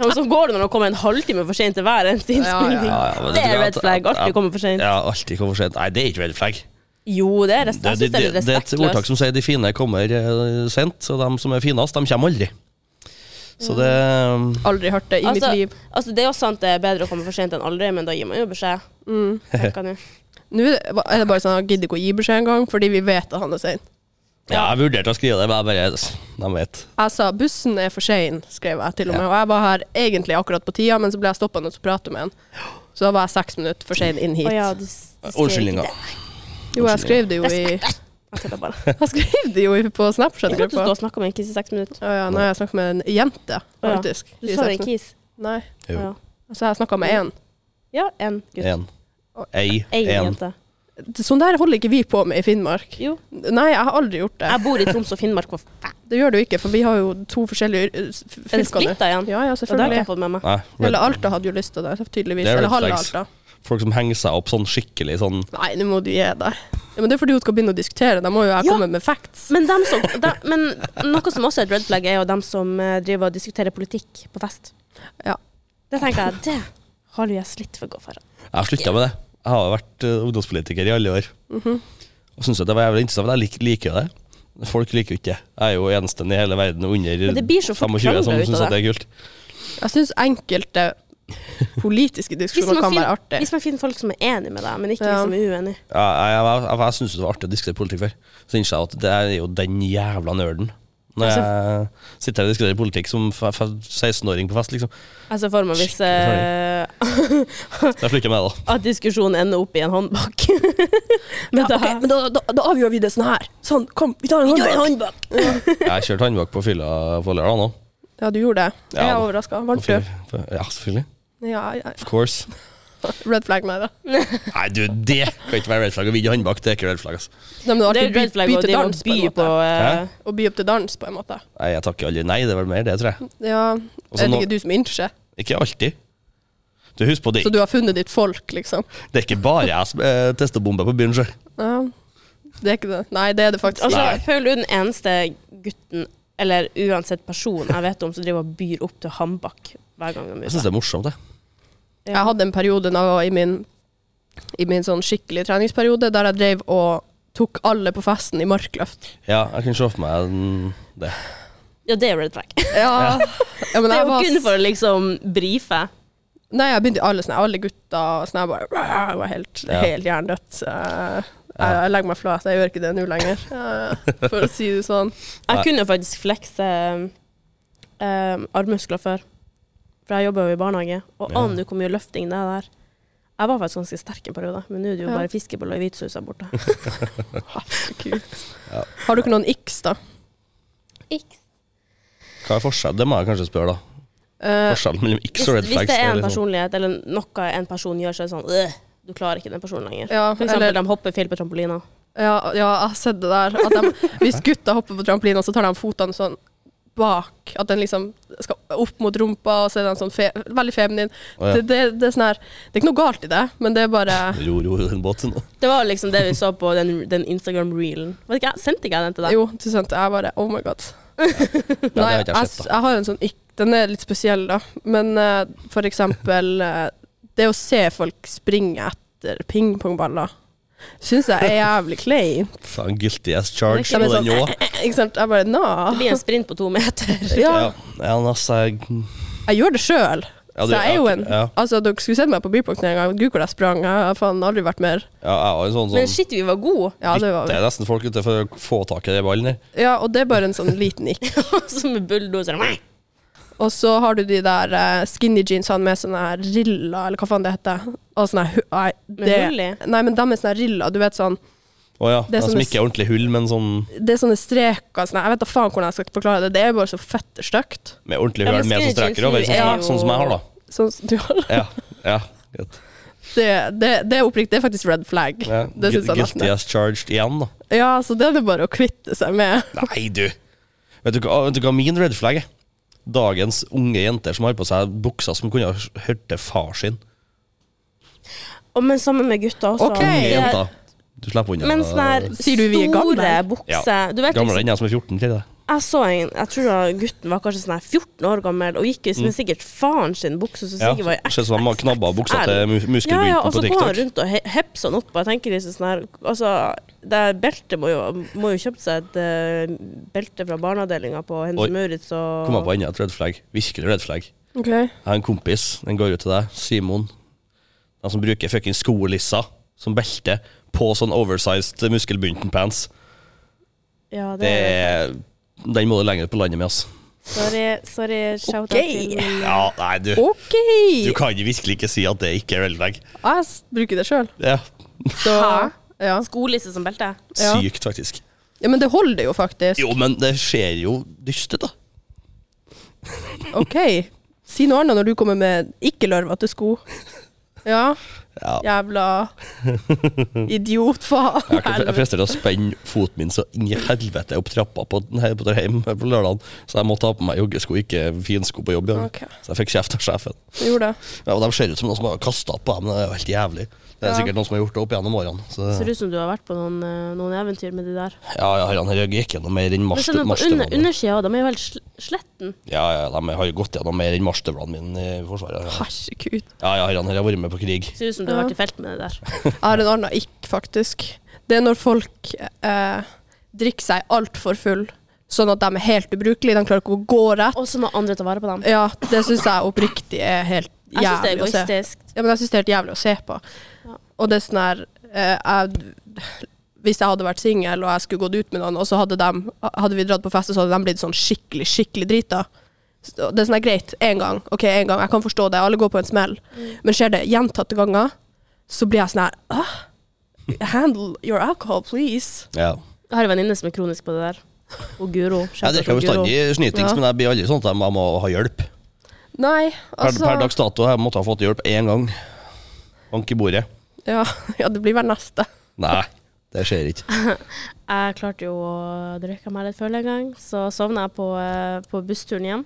[SPEAKER 2] Ja, men så går det når det kommer en halvtime for sent til hver eneste innspilling.
[SPEAKER 1] Ja,
[SPEAKER 3] Ja, ja, men
[SPEAKER 2] Det er
[SPEAKER 3] tror jeg
[SPEAKER 2] red
[SPEAKER 3] at-
[SPEAKER 2] flag.
[SPEAKER 3] at-
[SPEAKER 2] Alltid kommer for sent.
[SPEAKER 3] Ja, alltid kommer for sent. Nei, det er ikke red flag.
[SPEAKER 2] Jo, det er
[SPEAKER 3] Det,
[SPEAKER 2] respekt.
[SPEAKER 3] det,
[SPEAKER 2] Jeg synes
[SPEAKER 3] det,
[SPEAKER 2] det er litt
[SPEAKER 3] det er et ordtak
[SPEAKER 2] respektløst.
[SPEAKER 3] som sier de fine kommer eh, sent, og de som er finest, de kommer aldri. Så det
[SPEAKER 1] Aldri hørt det i
[SPEAKER 2] Altså,
[SPEAKER 1] mitt liv.
[SPEAKER 2] altså, det er jo sant det er bedre å komme for sent enn aldri, men da gir man jo beskjed.
[SPEAKER 1] Mm.
[SPEAKER 2] tenker han jo.
[SPEAKER 1] Nå er det- er det bare sånn at han gidder ikke å gi beskjed engang, fordi vi vet at han er sein.
[SPEAKER 3] Ja, jeg vurderte å skrive det, men jeg bare De vet.
[SPEAKER 1] Jeg sa 'bussen er for sein', skrev jeg til og med. Og jeg var her egentlig akkurat på tida, men så ble jeg stoppa og prate med han. Så da var jeg seks minutter for sein inn hit.
[SPEAKER 2] Å ja, du, s- du skrev
[SPEAKER 3] Unnskyldninga.
[SPEAKER 2] ikke det.
[SPEAKER 1] Jo, jeg skrev det jo i
[SPEAKER 2] Jeg tuller bare.
[SPEAKER 1] Jeg skrev det jo på
[SPEAKER 2] Jeg trodde du stod
[SPEAKER 1] Snapchat-gruppa.
[SPEAKER 2] og snakket med en kiss i seks minutter.
[SPEAKER 1] Å ja, nå har jeg snakket med en jente,
[SPEAKER 2] Å ja.
[SPEAKER 1] faktisk.
[SPEAKER 2] Du
[SPEAKER 1] i
[SPEAKER 2] sa det
[SPEAKER 1] seks
[SPEAKER 2] en
[SPEAKER 1] minutter.
[SPEAKER 2] kiss.
[SPEAKER 1] Nei.
[SPEAKER 3] Jo.
[SPEAKER 2] Ja.
[SPEAKER 1] Altså, jeg har snakka med én.
[SPEAKER 2] ja, en gutt.
[SPEAKER 3] En. Ei.
[SPEAKER 2] En
[SPEAKER 3] En.
[SPEAKER 2] jente.
[SPEAKER 1] Sånn der holder ikke vi på med i Finnmark.
[SPEAKER 2] Jo.
[SPEAKER 1] Nei, jeg har aldri gjort det.
[SPEAKER 2] Jeg bor i Troms og Finnmark. hva faen?
[SPEAKER 1] Det gjør du ikke, for vi har jo to forskjellige eh, s-
[SPEAKER 2] Er det
[SPEAKER 1] fylker nå.
[SPEAKER 2] splitta igjen?
[SPEAKER 1] Ja, ja,
[SPEAKER 2] Og det har ikke jeg
[SPEAKER 1] selvfølgelig.
[SPEAKER 2] fått med meg.
[SPEAKER 3] Nei, red,
[SPEAKER 1] Eller Alta hadde jo lyst til det, tydeligvis.
[SPEAKER 3] Det er red
[SPEAKER 1] Eller halve
[SPEAKER 3] flags.
[SPEAKER 1] Alta.
[SPEAKER 3] folk som henger seg opp sånn skikkelig sånn
[SPEAKER 1] Nei, nå må du gi deg. Ja, men det er fordi hun skal begynne å diskutere, da må jo jeg
[SPEAKER 2] Ja.
[SPEAKER 1] komme med facts.
[SPEAKER 2] Men, dem som, dem- men noe som også er et red flag, er jo dem som eh, driver og diskuterer politikk på fest.
[SPEAKER 1] Ja.
[SPEAKER 2] Det tenker jeg, det har jo jeg slitt for å gå for.
[SPEAKER 3] Jeg har slutta med det. Jeg har jo vært eh, ungdomspolitiker i alle år.
[SPEAKER 2] Mhm.
[SPEAKER 3] Og syns jo det var jævlig interessant. men Jeg lik, liker jo det. Folk liker jo ikke det. Jeg er jo eneste i hele verden under
[SPEAKER 2] Men det blir så fort
[SPEAKER 3] 25 som
[SPEAKER 2] krangler ut
[SPEAKER 3] syns
[SPEAKER 2] av
[SPEAKER 3] at det er kult.
[SPEAKER 1] Jeg syns enkelte politiske diskusjoner kan være
[SPEAKER 2] finner,
[SPEAKER 1] artig.
[SPEAKER 2] hvis man finner folk som er enig med deg, men ikke
[SPEAKER 1] Ja.
[SPEAKER 2] liksom er uenig.
[SPEAKER 3] Ja, jeg jeg, jeg, jeg, jeg syntes det var artig å diskutere politikk før. Så innser jeg at det er jo den jævla nerden Når
[SPEAKER 2] Altså,
[SPEAKER 3] jeg sitter her og diskuterer politikk som f- f- 16-åring på fest,
[SPEAKER 2] Jeg
[SPEAKER 3] liksom.
[SPEAKER 2] ser Altså, for meg hvis eh,
[SPEAKER 3] Det er slik jeg mener, da.
[SPEAKER 2] at diskusjonen ender opp i en håndbak. men
[SPEAKER 1] Ja,
[SPEAKER 2] da,
[SPEAKER 1] ok, men da, da, da avgjør vi det sånn her. Sånn, kom, vi tar en håndbak.
[SPEAKER 3] Jeg kjørte håndbak på fylla på lørdag nå.
[SPEAKER 1] Ja, du gjorde det.
[SPEAKER 3] Ja,
[SPEAKER 1] Jeg er
[SPEAKER 3] da.
[SPEAKER 1] overraska.
[SPEAKER 3] På
[SPEAKER 1] Varmt brød.
[SPEAKER 3] fylla- på- Ja, selvfølgelig.
[SPEAKER 1] Ja, ja.
[SPEAKER 3] Of course.
[SPEAKER 1] Red flag meg, da.
[SPEAKER 3] Nei, du, det kan ikke være red flag. Å vinne håndbak, det er ikke red flag, altså.
[SPEAKER 1] Nei, men det var
[SPEAKER 2] det er
[SPEAKER 1] alltid
[SPEAKER 2] jo red flag å
[SPEAKER 1] til
[SPEAKER 2] drive og
[SPEAKER 1] dans,
[SPEAKER 2] by
[SPEAKER 1] en måte.
[SPEAKER 2] på eh,
[SPEAKER 1] Å by opp til dans, på en måte.
[SPEAKER 3] Nei, jeg takker aldri nei. Det er vel mer det, tror jeg.
[SPEAKER 1] Ja,
[SPEAKER 3] Og
[SPEAKER 1] er
[SPEAKER 3] så
[SPEAKER 1] det
[SPEAKER 3] Altså, nå-
[SPEAKER 1] ikke du som innser?
[SPEAKER 3] Ikke alltid. Du husk på det,
[SPEAKER 1] Så du har funnet ditt folk, liksom?
[SPEAKER 3] det er ikke bare jeg som er testebombe på byen sjøl.
[SPEAKER 1] Ja. Det er ikke det. Nei, det er det faktisk
[SPEAKER 2] Altså,
[SPEAKER 1] ikke.
[SPEAKER 3] Nei.
[SPEAKER 2] Paul er den eneste gutten, eller uansett person jeg vet om, som driver og byr opp til håndbak hver gang de er
[SPEAKER 3] Jeg
[SPEAKER 2] ute.
[SPEAKER 3] syns det er morsomt, jeg.
[SPEAKER 2] Ja.
[SPEAKER 1] Jeg hadde en periode da jeg var i min, i min sånn skikkelig treningsperiode der jeg drev og tok alle på festen i markløft.
[SPEAKER 3] Ja, jeg kan se for meg mm, det.
[SPEAKER 2] Ja, det er red flag. Det
[SPEAKER 1] Ja, ja men
[SPEAKER 2] er
[SPEAKER 1] jeg
[SPEAKER 2] jo
[SPEAKER 1] var
[SPEAKER 2] kun for å liksom brife.
[SPEAKER 1] Nei, jeg begynte i alle sånne, alle gutta og sånn. Jeg bare jeg var helt,
[SPEAKER 3] Ja.
[SPEAKER 1] helt jerndødt. Så Jeg, jeg, jeg legger meg flat, jeg gjør ikke det nå lenger, eh, for å si det sånn.
[SPEAKER 3] Nei.
[SPEAKER 2] Jeg kunne jo faktisk flekse um, armmuskler før, for jeg jobber jo i barnehage. Og
[SPEAKER 3] Ja.
[SPEAKER 2] aner du hvor mye løfting det er der. Jeg var faktisk ganske sterk en periode, men nå er det jo
[SPEAKER 1] Ja.
[SPEAKER 2] bare fiskeboller i hvitsaus her borte.
[SPEAKER 1] Herregud.
[SPEAKER 3] Ja.
[SPEAKER 1] Har du ikke noen x, da?
[SPEAKER 3] Hva er forskjellen? Det må jeg kanskje spørre, da.
[SPEAKER 1] Eh,
[SPEAKER 3] Forskjellen mellom X
[SPEAKER 2] Hvis,
[SPEAKER 3] og red
[SPEAKER 2] hvis
[SPEAKER 3] flags.
[SPEAKER 2] det er en
[SPEAKER 3] liksom-
[SPEAKER 2] personlighet, eller noe en person gjør, så er det sånn øh, Du klarer ikke den personen lenger.
[SPEAKER 1] ja,
[SPEAKER 2] For eksempel,
[SPEAKER 1] eller,
[SPEAKER 2] de hopper feil på trampolina.
[SPEAKER 1] ja, ja, jeg har sett det der. At de, hvis gutta hopper på trampolina, så tar de fotene sånn bak. At den liksom skal opp mot rumpa, og så er den sånn fe veldig feminin.
[SPEAKER 3] Å, ja.
[SPEAKER 1] det, det, det, er sånn her, det er ikke noe galt i det, men det er bare
[SPEAKER 3] Ro, ro, ro, den båten.
[SPEAKER 2] Det var liksom det vi så på den, den Instagram-reelen. Vet ikke jeg, Sendte ikke jeg den til deg?
[SPEAKER 1] Jo, du skjønte. Jeg bare Oh my god.
[SPEAKER 3] det har
[SPEAKER 1] Nei, jeg,
[SPEAKER 3] jeg ikke sett, da.
[SPEAKER 1] jeg har en sånn ikk. Den er litt spesiell, da. Men eh, for eksempel eh, Det å se folk springe etter pingpongballer syns jeg er jævlig kleint.
[SPEAKER 3] Faen, guilty as
[SPEAKER 1] Ja,
[SPEAKER 3] charged
[SPEAKER 1] men
[SPEAKER 3] på den
[SPEAKER 1] sånn-
[SPEAKER 3] òg.
[SPEAKER 1] Ikke sant? Jeg bare
[SPEAKER 2] Det
[SPEAKER 1] Nå.
[SPEAKER 2] blir en sprint på to meter.
[SPEAKER 1] Ja,
[SPEAKER 3] Ja, ja, men altså jeg-
[SPEAKER 1] jeg gjør det sjøl.
[SPEAKER 3] Ja, du-
[SPEAKER 1] så jeg er jo
[SPEAKER 3] ja,
[SPEAKER 1] en
[SPEAKER 3] ja.
[SPEAKER 1] Altså, dere skulle sett meg på Bypokten en gang. Gud, hvor jeg sprang. Jeg har faen aldri vært mer
[SPEAKER 3] Ja, jeg var en sånn
[SPEAKER 2] Men
[SPEAKER 3] sånn
[SPEAKER 2] shit, vi var gode.
[SPEAKER 1] Ja, det var
[SPEAKER 3] Det er nesten folk ute for å få tak i den ballen her.
[SPEAKER 1] Ja, og det er bare en sånn liten ikk.
[SPEAKER 2] Som med bulldoser.
[SPEAKER 1] Og så har du de der eh, skinny jeansene med sånne her rilla, eller hva faen det heter. Og sånne, hu- nei,
[SPEAKER 2] Med
[SPEAKER 1] det,
[SPEAKER 2] hull i?
[SPEAKER 1] Nei, men de er sånne her rilla. Du vet sånn
[SPEAKER 3] Å ja.
[SPEAKER 1] Det er
[SPEAKER 3] Det som
[SPEAKER 1] sånn-
[SPEAKER 3] ikke er ordentlig hull, men sånn
[SPEAKER 1] Det er sånne streker sånne, Jeg vet da faen hvordan jeg skal forklare det. Det er bare så fette stygt.
[SPEAKER 3] med ordentlig
[SPEAKER 2] Ja,
[SPEAKER 3] hull
[SPEAKER 2] men
[SPEAKER 3] med sånn
[SPEAKER 2] skinny
[SPEAKER 3] streker over.
[SPEAKER 2] jeans
[SPEAKER 3] Sånn,
[SPEAKER 2] er
[SPEAKER 3] som jeg- sånn som jeg har, da.
[SPEAKER 1] Sånn som du har det.
[SPEAKER 3] Ja. ja. greit.
[SPEAKER 1] Det, det er oppriktig. Det er faktisk red flag.
[SPEAKER 3] ja.
[SPEAKER 1] Det syns
[SPEAKER 3] Gu-
[SPEAKER 1] jeg nesten.
[SPEAKER 3] Guilty
[SPEAKER 1] er.
[SPEAKER 3] as charged igjen, da.
[SPEAKER 1] Ja, så det er det bare å kvitte seg med.
[SPEAKER 3] Nei, du. Vet du, hva- vet du hva min red flag er? Dagens unge jenter som har på seg bukser som kunne ha hørt til far sin.
[SPEAKER 2] Og men sammen med gutta også.
[SPEAKER 1] Ok.
[SPEAKER 3] Unge
[SPEAKER 1] Hey.
[SPEAKER 3] jenter. Du slipper unna.
[SPEAKER 2] Men sånn her
[SPEAKER 1] Sier du vi er gamle?
[SPEAKER 2] store bukser Du vet liksom,
[SPEAKER 3] Gamlere enn jeg som er 14 til det.
[SPEAKER 2] jeg så en Jeg tror da gutten var kanskje sånn her 14 år gammel og gikk i som sikkert faren sin bukse, som
[SPEAKER 3] Mm. Ja,
[SPEAKER 2] sikkert var i
[SPEAKER 3] ser ut som han knabba buksa til mu-
[SPEAKER 2] Ja, ja,
[SPEAKER 3] muskelbunten
[SPEAKER 2] og så
[SPEAKER 3] på
[SPEAKER 2] går han
[SPEAKER 3] TikTok.
[SPEAKER 2] rundt og he hepser han opp. Og jeg tenker liksom sånn her Altså, det her beltet må jo Må jo kjøpe seg et eh, belte fra barneavdelinga på
[SPEAKER 3] Oi.
[SPEAKER 2] Hennes Maurits og
[SPEAKER 3] Kom jeg på enda et red flag. Virkelig red flag.
[SPEAKER 1] Ok.
[SPEAKER 3] Jeg har en kompis, den går ut til deg, Simon. Han som bruker fucking skolissa som belte på sånn oversized muskelbunten-pants.
[SPEAKER 2] Ja, det
[SPEAKER 3] Det
[SPEAKER 2] er
[SPEAKER 3] er Den må du lenger ut på landet med, ass.
[SPEAKER 2] Sorry, sorry shout
[SPEAKER 1] Ok.
[SPEAKER 2] out til
[SPEAKER 3] Ja, nei, du.
[SPEAKER 1] OK!
[SPEAKER 3] Du kan virkelig ikke si at det ikke er red flag.
[SPEAKER 1] Jeg s- bruker det sjøl.
[SPEAKER 3] Det er
[SPEAKER 1] Så
[SPEAKER 2] Hæ?
[SPEAKER 1] ja.
[SPEAKER 2] skolisse som belte.
[SPEAKER 1] Ja.
[SPEAKER 3] sykt, faktisk.
[SPEAKER 1] ja. Men det holder jo faktisk.
[SPEAKER 3] Jo, men det ser jo dyst ut, da.
[SPEAKER 1] OK. Si noe annet når du kommer med ikke-lørvete sko. Ja.
[SPEAKER 3] Ja.
[SPEAKER 1] Jævla idiot, faen.
[SPEAKER 3] Jeg, kan, jeg presterte å spenne foten min så inn i helvete opp trappa på, nei, på der hjem på lørdagen, så jeg måtte ha på meg joggesko, ikke finsko på jobb. i dag.
[SPEAKER 1] Ok.
[SPEAKER 3] Så jeg fikk kjeft av sjefen.
[SPEAKER 1] Du gjorde det.
[SPEAKER 3] Ja, og De ser ut som noen som har kasta på dem, det er jo helt jævlig. Det er
[SPEAKER 1] Ja.
[SPEAKER 3] sikkert noen som har gjort det opp gjennom årene. Så,
[SPEAKER 2] Ser ut som du har vært på noen, eh, noen eventyr med de der.
[SPEAKER 3] ja, ja, han her gikk gjennom mer enn
[SPEAKER 2] Men se nå på
[SPEAKER 3] marsstøvlene
[SPEAKER 2] under,
[SPEAKER 3] mine.
[SPEAKER 2] undersida, de er jo helt sl- sletten.
[SPEAKER 3] Ja, ja, de har jo gått gjennom mer enn marsstøvlene mine i Forsvaret. Ja,
[SPEAKER 1] Herregud.
[SPEAKER 3] ja, ja han her har vært med på krig.
[SPEAKER 2] Ser ut som du har vært i felt med det der.
[SPEAKER 1] Jeg har en annen ikk, faktisk. Det er når folk eh, drikker seg altfor full, sånn at de er helt ubrukelige. De klarer ikke å gå rett.
[SPEAKER 2] Og så må andre ta vare på dem.
[SPEAKER 1] Ja, det syns jeg oppriktig er helt
[SPEAKER 2] Jeg syns det er
[SPEAKER 1] jævlig å se.
[SPEAKER 2] egoistisk.
[SPEAKER 1] Ja, men jeg syns det er helt jævlig å se på.
[SPEAKER 2] Ja.
[SPEAKER 1] Og det er sånn her eh, Jeg hvis jeg hadde vært singel og jeg skulle gått ut med noen, og så hadde, dem, hadde vi dratt på fest, og så hadde de blitt sånn skikkelig, skikkelig drita. Så Det er sånn her greit én gang. Ok, en gang. Jeg kan forstå det. Alle går på en smell. Men skjer det gjentatte ganger, så blir jeg sånn her «Åh, Handle your alcohol, please.
[SPEAKER 3] Ja.
[SPEAKER 2] Jeg har en venninne som er kronisk på det der. Og Guro.
[SPEAKER 3] Jeg drikker bestandig snytings,
[SPEAKER 1] Ja.
[SPEAKER 3] men jeg blir aldri sånn at jeg må- jeg må ha hjelp.
[SPEAKER 1] Nei,
[SPEAKER 3] Per,
[SPEAKER 1] altså
[SPEAKER 3] per dags dato har jeg måttet ha fått hjelp én gang. Bank i bordet.
[SPEAKER 1] Ja, ja det blir vel neste.
[SPEAKER 3] Nei, det skjer ikke.
[SPEAKER 2] Jeg klarte jo å drikke meg litt full en gang, så sovna jeg på, eh, på bussturen hjem.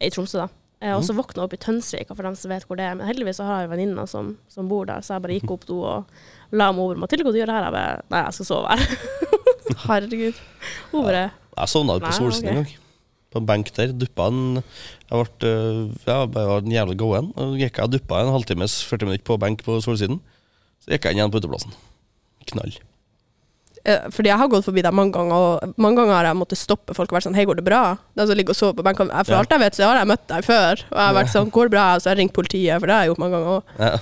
[SPEAKER 2] I Tromsø, da. Eh, Og så våkna jeg opp i Tønsvika, for dem som vet hvor det er. Men heldigvis så har jeg venninner som, som bor der, så jeg bare gikk opp do og la meg over. Mathilde, hva du gjør her? Jeg bare Nei, jeg skal sove her.
[SPEAKER 1] Herregud.
[SPEAKER 2] Hun bare
[SPEAKER 3] Jeg sovna ut
[SPEAKER 2] Nei,
[SPEAKER 3] på Solsiden
[SPEAKER 2] ok.
[SPEAKER 3] en gang. På en benk der. Duppa en Jeg ble øh, ja, jeg var en jævla gåen. og så Gikk jeg og duppa en halvtimes 40 minutter på benk på Solsiden. Så gikk jeg inn igjen på uteplassen. Knall.
[SPEAKER 1] Eh, Fordi jeg har gått forbi deg mange ganger, og mange ganger har jeg måttet stoppe folk og vært sånn Hei, går det bra? De som ligger og sover på benken. Jeg- For
[SPEAKER 3] Ja.
[SPEAKER 1] alt jeg vet, så har jeg møtt deg før. Og jeg har vært sånn Går det bra? Så jeg har ringt politiet, for det har jeg gjort mange ganger òg.
[SPEAKER 3] Ja.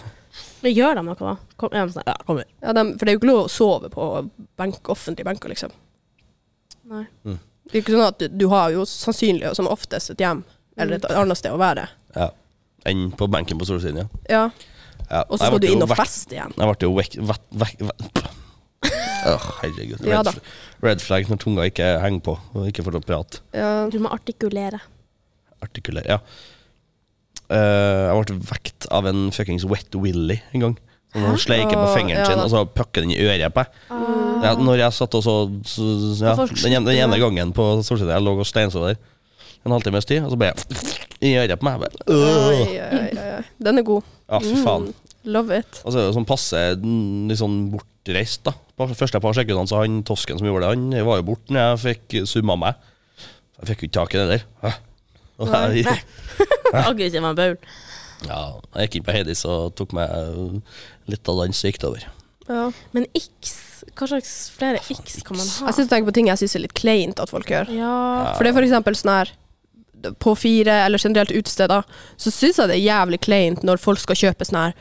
[SPEAKER 2] Men gjør de noe, da? Kom, ja, de sånn, ja, kom her.
[SPEAKER 1] Ja, dem- for det er jo ikke lov å sove på benk, offentlige benker, liksom.
[SPEAKER 2] Nei.
[SPEAKER 1] Det er ikke sånn at du, du har jo sannsynlig og som oftest et hjem eller et annet sted å være.
[SPEAKER 3] ja. Enn på benken på Solsiden, ja.
[SPEAKER 1] Ja.
[SPEAKER 3] ja.
[SPEAKER 1] Og så
[SPEAKER 3] Jeg
[SPEAKER 1] skal du
[SPEAKER 3] ble jo
[SPEAKER 1] inn og
[SPEAKER 3] vekt-
[SPEAKER 1] feste igjen.
[SPEAKER 3] Jeg ble jo vekk... Vekk... Vekk... vekk. Åh, herregud. Red,
[SPEAKER 1] Ja da.
[SPEAKER 3] fl- red flag når tunga ikke henger på og ikke får lov til å prate.
[SPEAKER 1] Ja.
[SPEAKER 2] Du må artikulere.
[SPEAKER 3] Artikulere, ja. Eh, jeg ble vekt av en fuckings wet willy en gang. Som han sleiker på
[SPEAKER 1] Åh,
[SPEAKER 3] fingeren
[SPEAKER 1] ja
[SPEAKER 3] sin,
[SPEAKER 1] da.
[SPEAKER 3] og så pakker den i øret på meg.
[SPEAKER 2] Ah.
[SPEAKER 3] Ja, når jeg satt og så, så så- ja,
[SPEAKER 2] Og folk
[SPEAKER 3] den, ene- den
[SPEAKER 2] slutter
[SPEAKER 3] ene
[SPEAKER 2] med-
[SPEAKER 3] gangen på Solsiden, jeg lå og steinsov der en halvtimes tid, og så ble jeg i øret på meg. Jeg bare,
[SPEAKER 1] Oi,
[SPEAKER 3] øh.
[SPEAKER 1] oi, oi, oi. Den er god.
[SPEAKER 3] Ja, fy faen.
[SPEAKER 1] Mm, love it.
[SPEAKER 3] Og så er det sånn passe mm, litt sånn bortreist, da. På første par sekundene så han tosken som gjorde det, han var jo borte når jeg fikk summa meg. Jeg fikk jo ikke tak i det der. Hæ? Og jeg,
[SPEAKER 2] Aggressiv en baul.
[SPEAKER 3] ja, jeg gikk inn på Heidis og tok meg eh, litt av den som gikk det over.
[SPEAKER 1] Ja.
[SPEAKER 2] Men x Hva slags flere x kan man ha?
[SPEAKER 1] Jeg synes, tenker på ting jeg syns er litt kleint at folk gjør.
[SPEAKER 2] ja.
[SPEAKER 1] For det er for eksempel sånn her På fire, eller generelt utesteder, så syns jeg det er jævlig kleint når folk skal kjøpe sånn her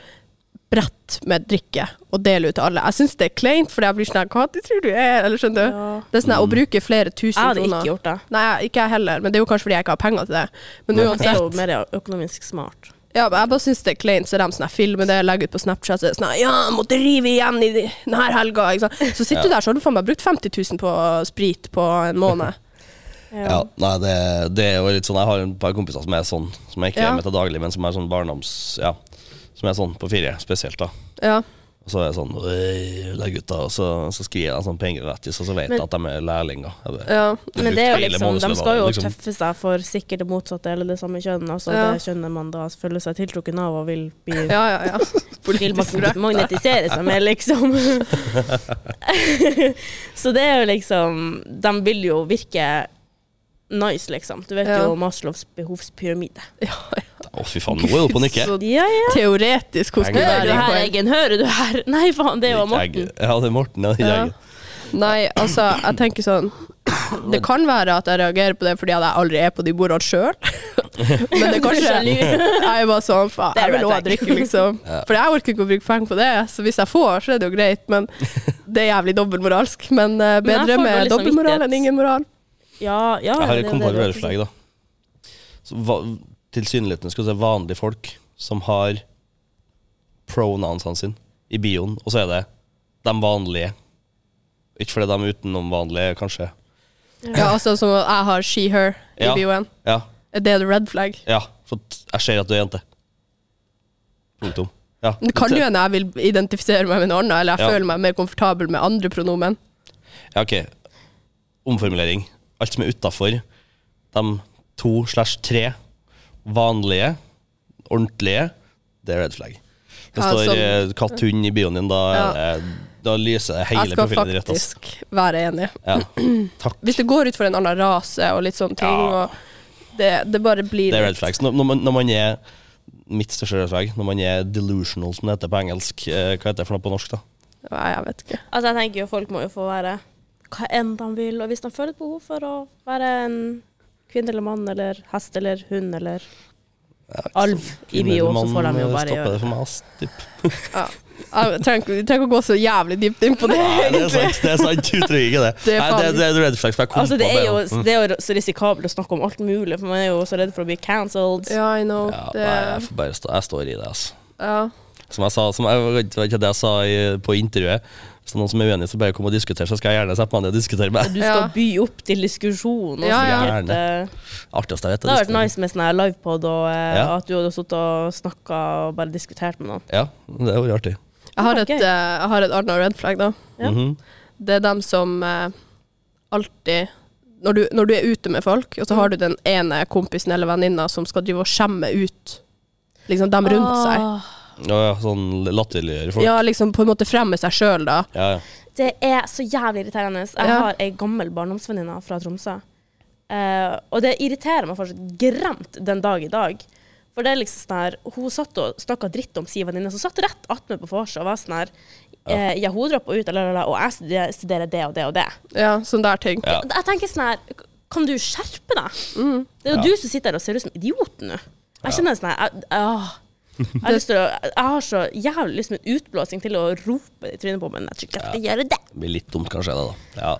[SPEAKER 1] brett med drikke og dele ut til alle. Jeg syns det er kleint, fordi jeg blir sånn her Hva de tror du er? Eller skjønner du?
[SPEAKER 2] Ja.
[SPEAKER 1] Det er sånn her, Å bruke flere tusen
[SPEAKER 2] Jeg hadde
[SPEAKER 1] kroner
[SPEAKER 2] ikke gjort det.
[SPEAKER 1] Nei, ikke jeg heller, men det er jo kanskje fordi jeg ikke har penger til det. Men
[SPEAKER 2] Jeg er jo
[SPEAKER 1] uansett.
[SPEAKER 2] mer økonomisk smart.
[SPEAKER 1] Ja, men jeg bare syns det er kleint, så de sånn, jeg filmer det, legger ut på Snapchat så er det sånn, Ja, jeg måtte rive igjen i de- denne helga. Ikke sant? Så sitter du der, så har du faen meg brukt 50 000 på sprit på en måned.
[SPEAKER 3] Ja, nei, det, det er jo litt sånn Jeg har et par kompiser som er sånn, som jeg ikke
[SPEAKER 1] Ja.
[SPEAKER 3] er med til daglig, men som er sånn barndoms... Ja, som er sånn på fire, spesielt, da.
[SPEAKER 1] Ja.
[SPEAKER 3] Og så er jeg sånn «Øy, La gutta, og så, så skriver jeg sånn penger rettis, og så vet
[SPEAKER 2] Men-
[SPEAKER 3] jeg at de er lærlinger. Jeg bare-
[SPEAKER 1] ja.
[SPEAKER 3] Det
[SPEAKER 2] Men det er jo
[SPEAKER 3] brukte hele
[SPEAKER 2] liksom, de
[SPEAKER 3] månedslønna,
[SPEAKER 2] skal jo
[SPEAKER 3] liksom.
[SPEAKER 2] tøffe seg for sikkert det motsatte eller det samme kjønn. Altså
[SPEAKER 1] Ja.
[SPEAKER 2] det kjønnet man da føler seg tiltrukket av og vil bli
[SPEAKER 1] Ja, ja, ja.
[SPEAKER 2] vil mag- magnetisere seg med, liksom. Så det er jo liksom De vil jo virke nice, liksom. Du vet
[SPEAKER 1] Ja.
[SPEAKER 2] jo Maslows behovspyramide.
[SPEAKER 3] Å, fy faen, nå er du på nikke.
[SPEAKER 1] Så
[SPEAKER 2] Ja, ja.
[SPEAKER 1] teoretisk hvordan det
[SPEAKER 2] Hører
[SPEAKER 1] er.
[SPEAKER 2] du
[SPEAKER 1] i
[SPEAKER 2] her,
[SPEAKER 1] poeng.
[SPEAKER 2] Eggen? Hører du her? Nei, faen, det var Morten.
[SPEAKER 3] Ja, det er Morten. Ja, det er
[SPEAKER 1] Ja.
[SPEAKER 3] jeg.
[SPEAKER 1] Nei, altså, jeg tenker sånn Det kan være at jeg reagerer på det fordi at jeg aldri er på de bordene sjøl. Men det er kanskje
[SPEAKER 2] Sjalu.
[SPEAKER 1] Jeg er bare sånn, faen.
[SPEAKER 2] Det er
[SPEAKER 1] Jeg vil
[SPEAKER 2] red
[SPEAKER 1] òg
[SPEAKER 2] flag.
[SPEAKER 1] drikke, liksom. For jeg orker ikke å bruke penger på det, så hvis jeg får, så er det jo greit. Men det er jævlig dobbeltmoralsk. Men eh,
[SPEAKER 2] Men jeg
[SPEAKER 1] bedre
[SPEAKER 2] får liksom
[SPEAKER 1] med
[SPEAKER 2] dårlig
[SPEAKER 1] dobbeltmoral enn
[SPEAKER 2] samvittighet.
[SPEAKER 1] ingen moral.
[SPEAKER 2] Ja, ja.
[SPEAKER 3] Jeg har
[SPEAKER 2] det er
[SPEAKER 3] et kompakt
[SPEAKER 2] det du-
[SPEAKER 3] red flag, da. Så va- Tilsynelatende skal du se vanlige folk som har pronounsene sine i bioen, og så er det de vanlige. Ikke fordi de er utenomvanlige, kanskje.
[SPEAKER 1] Ja, altså som at jeg har she, her i
[SPEAKER 3] Ja.
[SPEAKER 1] bioen.
[SPEAKER 3] Ja,
[SPEAKER 1] Er det red flag?
[SPEAKER 3] ja. For t- jeg ser at du er jente. Punktum. Ja.
[SPEAKER 1] Men Det kan jo hende jeg vil identifisere meg med noe annet, eller jeg
[SPEAKER 3] Ja.
[SPEAKER 1] føler meg mer komfortabel med andre pronomen.
[SPEAKER 3] Ja, ok. Omformulering. Alt som er utafor de to slash tre vanlige, ordentlige, det er red flag. Det
[SPEAKER 1] Ja,
[SPEAKER 3] står
[SPEAKER 1] sånn-
[SPEAKER 3] eh, katt, hund i bioen din, da, er det- da lyser det
[SPEAKER 1] Jeg
[SPEAKER 3] hele
[SPEAKER 1] skal
[SPEAKER 3] profilen din rett. ass.
[SPEAKER 1] faktisk være enig.
[SPEAKER 3] Ja. Takk.
[SPEAKER 1] Hvis det går ut for en annen rase og litt sånne ting,
[SPEAKER 3] Ja.
[SPEAKER 1] og det, det bare blir
[SPEAKER 3] Det er red
[SPEAKER 1] litt-
[SPEAKER 3] flags. Når, når, man, når man er mitt største red flag, når man er delusional, som det heter på engelsk, eh, hva heter det for noe på norsk, da?
[SPEAKER 1] Nei, jeg vet ikke.
[SPEAKER 2] Altså, jeg tenker jo folk må jo få være hva enn de vil, og hvis de føler et behov for å være en kvinne eller mann eller hest eller hund eller alv i bio, så får de jo bare gjøre
[SPEAKER 3] Stopper eh, det
[SPEAKER 2] det.
[SPEAKER 3] for meg, ass. Typ.
[SPEAKER 1] Ja. Jeg trenger, ikke- vi trenger ikke å gå så jævlig dypt inn på det,
[SPEAKER 3] Nei, det er
[SPEAKER 1] egentlig.
[SPEAKER 3] sant. det er sant, Du trenger ikke det.
[SPEAKER 1] Det er
[SPEAKER 3] Nei, det,
[SPEAKER 1] faen-
[SPEAKER 3] det er en red flags. for jeg kom
[SPEAKER 2] Altså, det
[SPEAKER 3] på
[SPEAKER 2] er jo
[SPEAKER 3] Mm.
[SPEAKER 2] det er jo så risikabelt å snakke om alt mulig, for man er jo så redd for å bli cancelled.
[SPEAKER 1] Ja, I know.
[SPEAKER 3] ja, nei,
[SPEAKER 2] eh,
[SPEAKER 3] jeg,
[SPEAKER 1] Det,
[SPEAKER 3] får bare stå, jeg står i det, altså.
[SPEAKER 1] ja.
[SPEAKER 3] Som jeg sa, som jeg, det var ikke det jeg sa i, på intervjuet. Hvis det er noen som er uenig, så bare kom og diskuter, så skal jeg gjerne sette meg ned og diskutere med
[SPEAKER 2] Du
[SPEAKER 3] deg.
[SPEAKER 2] skal
[SPEAKER 1] Ja.
[SPEAKER 2] by opp til diskusjon. Og
[SPEAKER 1] Ja, ja.
[SPEAKER 2] sikkert, eh,
[SPEAKER 3] Artigst jeg vet.
[SPEAKER 2] Det
[SPEAKER 3] er
[SPEAKER 2] hadde vært
[SPEAKER 3] diskutere.
[SPEAKER 2] nice med sånn her livepod, og eh,
[SPEAKER 3] Ja.
[SPEAKER 2] at du hadde sittet og snakka og bare diskutert med noen.
[SPEAKER 3] Ja, det hadde vært artig.
[SPEAKER 1] Jeg har
[SPEAKER 2] Ja,
[SPEAKER 1] et,
[SPEAKER 2] gøy.
[SPEAKER 1] eh, jeg har et annet red flag, da.
[SPEAKER 2] Ja.
[SPEAKER 3] Mhm.
[SPEAKER 1] Det er dem som eh, alltid når du, når du er ute med folk, og så har du den ene kompisen eller venninna som skal drive og skjemme ut liksom dem rundt seg.
[SPEAKER 2] Åh,
[SPEAKER 3] Ja, ja, sånn latterliggjøre folk. Ja.
[SPEAKER 1] Ja, liksom på en måte fremme seg sjøl, da.
[SPEAKER 3] Ja,
[SPEAKER 2] Det er så jævlig irriterende. Jeg
[SPEAKER 1] Ja.
[SPEAKER 2] har ei gammel barndomsvenninne fra Tromsø. Eh, og det irriterer meg fortsatt gremt den dag i dag. For det er liksom sånn her, Hun satt og snakka dritt om si venninne, som satt rett attmed på vorset og var sånn her eh, Ja, hun droppa ut, la, la, la, og jeg studerer, studerer det og det og det.
[SPEAKER 1] Ja, sånn der ting.
[SPEAKER 3] Ja.
[SPEAKER 2] Jeg tenker sånn her k- Kan du skjerpe deg? Det er jo
[SPEAKER 3] Ja.
[SPEAKER 2] du som sitter her og ser ut som idioten nå. Jeg kjenner sånn her jeg, åh. jeg, har lyst til å, jeg har så jævlig lyst med en utblåsning til å rope det i trynet på meg, men jeg tror ikke jeg skal gjøre det.
[SPEAKER 3] Det blir litt dumt, kanskje, det, da. Ja.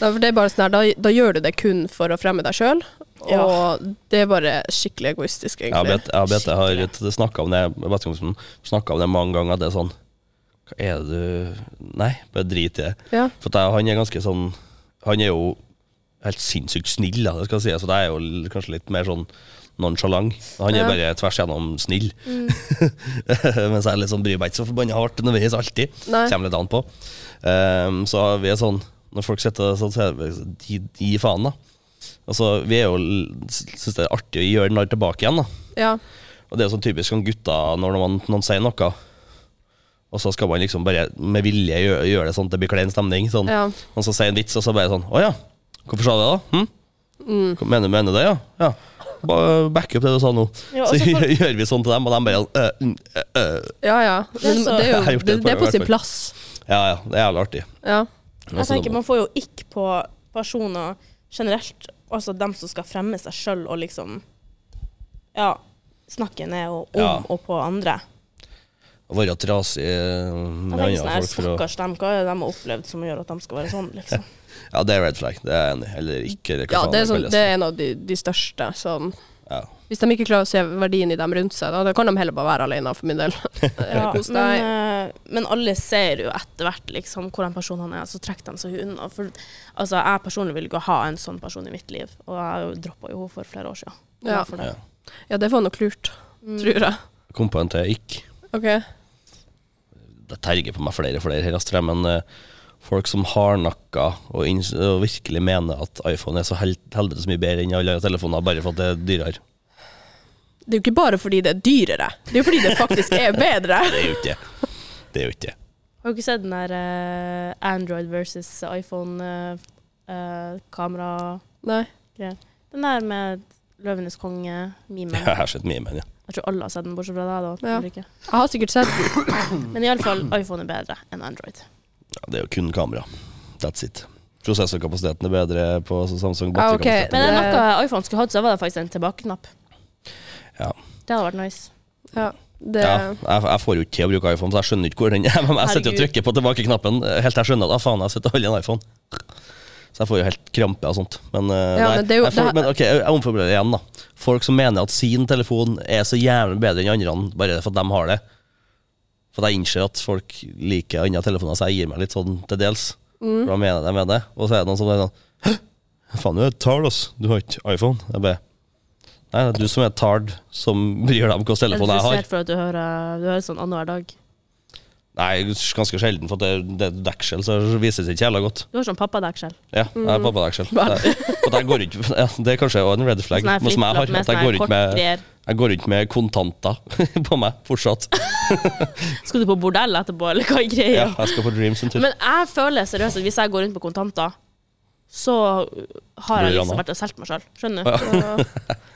[SPEAKER 1] Nei, for det er bare sånn her, da, da gjør du det kun for å fremme deg sjøl, og
[SPEAKER 2] Ja.
[SPEAKER 1] det er bare skikkelig egoistisk,
[SPEAKER 3] Jeg
[SPEAKER 1] egentlig.
[SPEAKER 3] vet, jeg vet jeg har snakka om det jeg vet ikke om jeg snakket om det mange ganger, at det er sånn Hva er det du Nei, bare drit i det.
[SPEAKER 1] Ja,
[SPEAKER 3] For at jeg, han er ganske sånn Han er jo helt sinnssykt snill, da, det skal jeg si. Så det er jo l- kanskje litt mer sånn nonchalant. Han er
[SPEAKER 1] Ja. Mm.
[SPEAKER 3] bare tvers igjennom snill. Mens jeg er litt sånn bryr meg ikke så forbanna hardt underveis, alltid.
[SPEAKER 1] Nei.
[SPEAKER 3] Kommer litt an på. Ehm, så vi er sånn Når folk sitter sånn, så er vi sånn, gi, gi faen, da. Altså, vi er jo syns det er artig å gjøre narr tilbake igjen, da.
[SPEAKER 1] ja,
[SPEAKER 3] Og det er sånn typisk sånn gutter når man, noen sier noe, og så skal man liksom bare med vilje gjøre, gjøre det sånn at det blir klein stemning. Sånn.
[SPEAKER 1] ja.
[SPEAKER 3] Og så sier en vits, og så bare sånn Å ja, hvorfor sa du det, da? Hm?
[SPEAKER 2] Mm.
[SPEAKER 3] Hva Mener du mener det, ja? ja. Bare Back up det du sa nå.
[SPEAKER 2] Ja, og
[SPEAKER 3] så
[SPEAKER 2] så folk-
[SPEAKER 3] gjør vi sånn til dem, og de bare sånn, «Øh, mm, øh, øh».
[SPEAKER 1] ja, ja. Men
[SPEAKER 2] så-
[SPEAKER 1] det er
[SPEAKER 3] Jeg har
[SPEAKER 1] jo
[SPEAKER 3] gjort
[SPEAKER 1] det,
[SPEAKER 3] det et
[SPEAKER 1] det er
[SPEAKER 3] par
[SPEAKER 1] på sin
[SPEAKER 3] ganger.
[SPEAKER 1] plass.
[SPEAKER 3] Ja ja, det er jævlig artig. Altså,
[SPEAKER 1] Ja.
[SPEAKER 3] Og
[SPEAKER 2] Jeg
[SPEAKER 3] så
[SPEAKER 2] tenker Man får jo ikk på personer generelt, altså dem som skal fremme seg sjøl og liksom Ja, snakke ned og om
[SPEAKER 3] Ja.
[SPEAKER 2] og på andre.
[SPEAKER 3] Være trasig eh, med
[SPEAKER 2] Jeg
[SPEAKER 3] andre
[SPEAKER 2] tenker sånn her,
[SPEAKER 3] folk for å
[SPEAKER 2] Stakkars dem, hva er det de har opplevd som gjør at de skal være sånn, liksom?
[SPEAKER 3] Ja, det er red flag. Det er jeg enig i. Eller ikke. eller hva
[SPEAKER 1] ja,
[SPEAKER 3] faen
[SPEAKER 1] det er, sånn,
[SPEAKER 3] kalles.
[SPEAKER 1] det er en av de, de største. Sånn.
[SPEAKER 3] Ja.
[SPEAKER 1] Hvis de ikke klarer å se verdien i dem rundt seg, da, da kan de heller bare være alene, for min del.
[SPEAKER 2] Ja,
[SPEAKER 1] Kos deg.
[SPEAKER 2] men, eh, men alle ser jo etter hvert liksom, hvordan personen han er, så trekker de seg unna. For, altså, jeg personlig vil ikke ha en sånn person i mitt liv, og jeg droppa jo henne for flere år siden. Og
[SPEAKER 1] Ja.
[SPEAKER 2] for det.
[SPEAKER 3] Ja.
[SPEAKER 1] Ja, det var nok lurt,
[SPEAKER 2] mm.
[SPEAKER 1] tror jeg.
[SPEAKER 3] Kom på en til ikke.
[SPEAKER 1] OK.
[SPEAKER 3] det terger på meg flere og flere her, Astrid, men eh, folk som hardnakka og, inns- og virkelig mener at iPhone er så hel helvetes mye bedre enn alle andre telefoner, bare for at det er dyrere.
[SPEAKER 1] Det er jo ikke bare fordi det er dyrere, det er jo fordi det faktisk er bedre.
[SPEAKER 3] Det er jo ikke det. Det er jo ikke det.
[SPEAKER 2] Har du ikke sett den der eh, Android versus eh, iPhone-kamera-greia?
[SPEAKER 1] Nei.
[SPEAKER 2] den der med Løvenes konge-memen.
[SPEAKER 3] Jeg har sett mye, men ja.
[SPEAKER 2] Jeg tror alle har sett den, bortsett fra deg. da.
[SPEAKER 1] Ja.
[SPEAKER 2] eller ikke.
[SPEAKER 1] Jeg har sikkert sett den.
[SPEAKER 2] Men iallfall, iPhone er bedre enn Android.
[SPEAKER 3] ja. Det er jo kun kamera. That's it. Prosessorkapasiteten er bedre på Samsung.
[SPEAKER 1] Ja, ok.
[SPEAKER 3] batterikapasiteten.
[SPEAKER 2] Men er det
[SPEAKER 1] Det-
[SPEAKER 2] noe iPhone skulle hatt, så var det faktisk en tilbakeknapp.
[SPEAKER 3] Ja.
[SPEAKER 2] Det hadde vært nice.
[SPEAKER 1] Ja, det,
[SPEAKER 3] Ja, jeg, jeg får jo ikke til å bruke iPhone, så jeg skjønner ikke hvor den er. Men jeg sitter jo og
[SPEAKER 2] Herregud.
[SPEAKER 3] trykker på tilbakeknappen helt til jeg skjønner at ah, faen, jeg sitter og holder en iPhone. Så jeg får jo helt krampe og sånt. Men, eh,
[SPEAKER 1] Ja,
[SPEAKER 3] nei,
[SPEAKER 1] men det er jo-
[SPEAKER 3] jeg får,
[SPEAKER 1] det-
[SPEAKER 3] men ok, jeg omforbereder igjen, da. Folk som mener at sin telefon er så jævlig bedre enn andre, bare for at de har det. For at jeg innser at folk liker andre telefoner, så jeg gir meg litt sånn til dels.
[SPEAKER 1] Mm.
[SPEAKER 3] For da mener de med det. Og så er det noen som er sånn Hæ? Faen, du er tard, ass. Du har ikke iPhone. Jeg bare Nei, det er du som er tard, som bryr deg om hvilken
[SPEAKER 2] Jeg er
[SPEAKER 3] telefon jeg har.
[SPEAKER 2] frustrert for at du hører, du hører sånn annenhver dag.
[SPEAKER 3] Nei, ganske sjelden, for det, det er deksel, så vises det ikke jævla godt.
[SPEAKER 2] Du har sånn pappadeksel.
[SPEAKER 3] Ja, jeg
[SPEAKER 2] Mm.
[SPEAKER 3] er pappadeksel. Det, og der går ikke, ja, det er kanskje også en red flag,
[SPEAKER 2] Sånn her
[SPEAKER 3] men som jeg har.
[SPEAKER 2] flip-flop med
[SPEAKER 3] At jeg,
[SPEAKER 2] sånn
[SPEAKER 3] går
[SPEAKER 2] her
[SPEAKER 3] ikke
[SPEAKER 2] kort
[SPEAKER 3] med,
[SPEAKER 2] greier.
[SPEAKER 3] jeg går ikke med kontanter på meg fortsatt.
[SPEAKER 2] Skal du på bordell etterpå, eller hva er greia?
[SPEAKER 3] Ja, jeg skal på Dreams en tur.
[SPEAKER 2] Men jeg føler seriøst at hvis jeg går rundt med kontanter, så har jeg
[SPEAKER 3] Blir det
[SPEAKER 2] liksom
[SPEAKER 3] Anna?
[SPEAKER 2] vært og solgt meg sjøl. Skjønner du?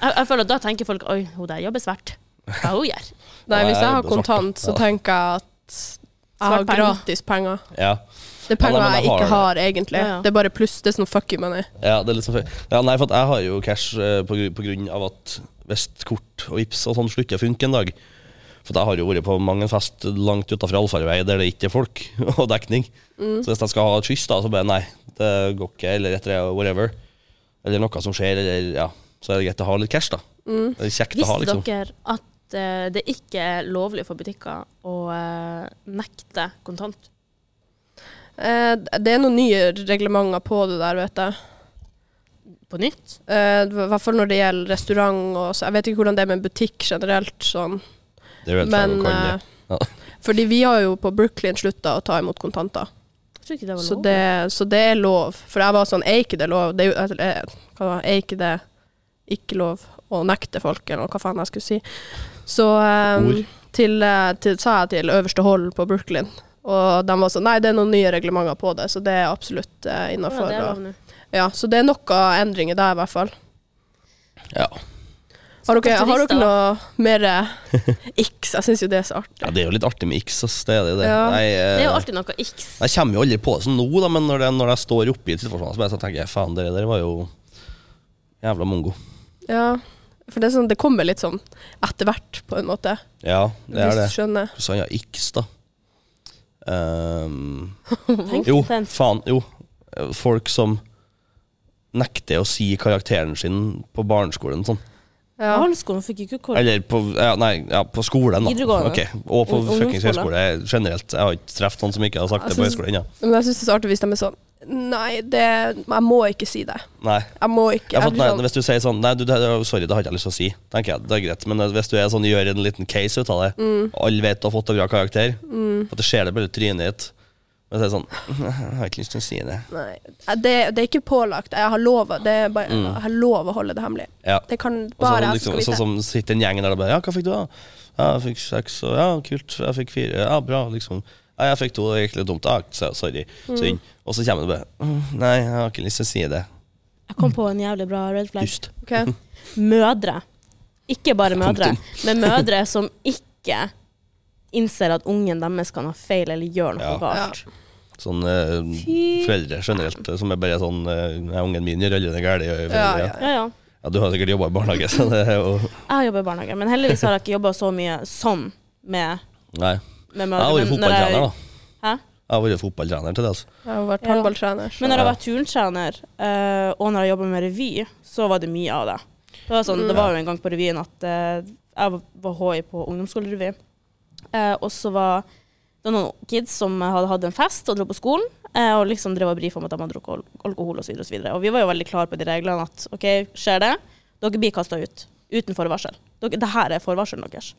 [SPEAKER 2] Jeg, jeg føler at da tenker folk Oi, hun der jobber svært. Hva hun gjør
[SPEAKER 1] nei, hvis jeg har
[SPEAKER 3] Nei, det er
[SPEAKER 1] kontant,
[SPEAKER 3] svart, ja.
[SPEAKER 1] så tenker jeg at jeg har
[SPEAKER 2] Svart penger.
[SPEAKER 1] gratis penger.
[SPEAKER 3] Ja.
[SPEAKER 1] Det er
[SPEAKER 3] Ja, nei,
[SPEAKER 1] penger
[SPEAKER 3] men jeg
[SPEAKER 1] jeg ikke har,
[SPEAKER 3] har
[SPEAKER 1] egentlig.
[SPEAKER 2] Ja, ja.
[SPEAKER 1] Det er bare pluss. Det er sånn fuck you money.
[SPEAKER 3] ja, det er litt sånn fe- ja, Nei, for at jeg har jo cash eh, på, gru- på grunn av at hvis kort og vips og sånn slutter å funke en dag, For jeg har jo vært på mange en fest langt utenfor allfarvei der det ikke er folk og dekning.
[SPEAKER 2] Mm.
[SPEAKER 3] Så hvis jeg skal ha et kyss, da, så bare nei, det går ikke, eller et eller annet, whatever. Eller noe som skjer, eller ja. Så er det greit å ha litt cash, da. Det er kjekt å ha,
[SPEAKER 2] Mm. Visste
[SPEAKER 3] liksom.
[SPEAKER 2] dere at eh, det ikke er lovlig for butikker å eh, nekte kontant?
[SPEAKER 1] Eh, det er noen nye reglementer på det der, vet jeg.
[SPEAKER 2] På nytt?
[SPEAKER 1] Eh, I hvert fall når det gjelder restaurant og så. Jeg vet ikke hvordan det er med en butikk generelt. sånn.
[SPEAKER 3] Det er jo helt
[SPEAKER 1] Men
[SPEAKER 3] klart man kan,
[SPEAKER 1] eh,
[SPEAKER 3] ja.
[SPEAKER 1] fordi vi har jo på Brooklyn slutta å ta imot kontanter.
[SPEAKER 2] Jeg tror ikke det var lov.
[SPEAKER 1] Så det, så det er lov. For jeg var sånn, er ikke det lov? Det er, jo- eh, hva var, er ikke det ikke lov å nekte folk, eller hva faen jeg skulle si. Så eh,
[SPEAKER 3] Ord.
[SPEAKER 1] til, eh, til, sa jeg til øverste hold på Brooklyn, og de var sånn, nei, det er noen nye reglementer på det, så det er absolutt eh,
[SPEAKER 2] Ja,
[SPEAKER 1] innafor.
[SPEAKER 2] det er
[SPEAKER 1] Ja,
[SPEAKER 2] lov nå.
[SPEAKER 1] ja, så det er noen endringer der, i hvert fall.
[SPEAKER 2] eh,
[SPEAKER 3] Ja.
[SPEAKER 1] Har dere,
[SPEAKER 2] Så
[SPEAKER 1] har
[SPEAKER 2] turister,
[SPEAKER 1] dere noe mer eh, x? Jeg syns jo det er så artig.
[SPEAKER 3] ja, det er jo litt artig med X, ass. Det er det. det.
[SPEAKER 1] Ja.
[SPEAKER 3] Nei, eh,
[SPEAKER 2] Det er jo alltid noe x.
[SPEAKER 3] Jeg kommer jo aldri på det som nå, da, men når, det, når jeg står oppe i situasjonen, så bare så tenker jeg faen, dere der var jo jævla mongo.
[SPEAKER 1] Ja, for det, er sånn, det kommer litt sånn etter hvert, på en måte.
[SPEAKER 3] Ja, det er
[SPEAKER 1] hvis
[SPEAKER 3] det.
[SPEAKER 1] du skjønner.
[SPEAKER 3] Så han har X, da. Ehm,
[SPEAKER 2] Tenk
[SPEAKER 3] jo,
[SPEAKER 2] intenst.
[SPEAKER 3] faen, jo. Folk som nekter å si karakteren sin på barneskolen sånn.
[SPEAKER 1] Ja.
[SPEAKER 2] Barneskolen fikk ikke kort.
[SPEAKER 3] Eller på, ja, nei, ja, på skolen, da.
[SPEAKER 2] Videregående.
[SPEAKER 3] Ok, Og på
[SPEAKER 2] Ung-
[SPEAKER 3] fuckings
[SPEAKER 2] ungdomsskole. Altså,
[SPEAKER 3] høyskole generelt. Jeg har ikke truffet noen som ikke har sagt det på
[SPEAKER 1] Jeg synes-
[SPEAKER 3] høyskolen ennå.
[SPEAKER 1] Men jeg syns det er så artig hvis de er sånn Nei, det, jeg må ikke si det.
[SPEAKER 3] Nei.
[SPEAKER 1] Jeg må ikke.
[SPEAKER 3] Jeg har
[SPEAKER 1] Jeg
[SPEAKER 3] fått,
[SPEAKER 1] blir
[SPEAKER 3] nei,
[SPEAKER 1] sånn,
[SPEAKER 3] hvis du sier sånn Nei, du, det, det- sorry, det har ikke jeg lyst til å si. Tenker jeg, det er greit Men hvis du er sånn, gjør en liten case ut av det,
[SPEAKER 1] Mm.
[SPEAKER 3] alle vet du har fått en bra karakter, at det ser det bare i trynet ditt Men så er det sånn Jeg har ikke lyst til å si det.
[SPEAKER 1] sånn, nei, det, det er ikke pålagt. Jeg har lov, det er bare, jeg har lov å holde det hemmelig.
[SPEAKER 3] Ja.
[SPEAKER 1] Det kan
[SPEAKER 3] Mm. Og
[SPEAKER 1] bare
[SPEAKER 3] sånn,
[SPEAKER 1] jeg som
[SPEAKER 3] liksom,
[SPEAKER 1] skal
[SPEAKER 3] sånn
[SPEAKER 1] vite.
[SPEAKER 3] som sitter en gjeng der og bare Ja, hva fikk du, da? Ja, jeg fikk seks, og ja, kult. Jeg fikk fire. Ja, bra, liksom. Ja, jeg fikk to, det gikk litt dumt. Ja, så- sorry.
[SPEAKER 1] Mm.
[SPEAKER 3] Synd. Og så kommer det bare «Mm, Nei, jeg har ikke lyst til å si det.
[SPEAKER 2] Jeg kom på en jævlig bra red flag.
[SPEAKER 3] Dust.
[SPEAKER 1] Ok.
[SPEAKER 2] Mødre. Ikke bare mødre,
[SPEAKER 3] Punktum.
[SPEAKER 2] men mødre som ikke innser at ungen deres kan ha feil eller gjør noe
[SPEAKER 3] Ja.
[SPEAKER 2] galt.
[SPEAKER 3] Sånn eh,
[SPEAKER 2] Fy-
[SPEAKER 3] foreldre generelt, eh, som er bare sånn eh, «Nei, Ungen min gjør aldri det gærne. gjør foreldre».
[SPEAKER 1] Ja, ja,
[SPEAKER 3] ja.
[SPEAKER 1] ja.
[SPEAKER 2] Ja, ja.
[SPEAKER 3] ja, du har sikkert jobba i barnehage, så det er jo
[SPEAKER 2] Jeg har jobba i barnehage, men heldigvis har jeg ikke jobba så mye sånn med,
[SPEAKER 3] Nei.
[SPEAKER 2] med mødre.
[SPEAKER 3] Jeg har vært
[SPEAKER 2] Men når jeg,
[SPEAKER 3] fotballtrener, da.
[SPEAKER 2] Hæ?
[SPEAKER 3] Jeg har vært fotballtrener til det, altså.
[SPEAKER 1] Jeg har vært
[SPEAKER 2] Ja.
[SPEAKER 1] håndballtrener.
[SPEAKER 2] Men når jeg var turntrener, eh, og når jeg jobba med revy, så var det mye av det. Det var, sånn, det var jo en gang på revyen at eh, jeg var HI på ungdomsskolerevy. Eh, og så var det var noen kids som hadde hatt en fest og dro på skolen, eh, og liksom drev og brifa om at de hadde drukket al- alkohol osv. Og, så videre. og vi var jo veldig klare på de reglene at OK, skjer det, dere blir kasta ut. Uten forvarsel. Dere, det her er forvarselen deres.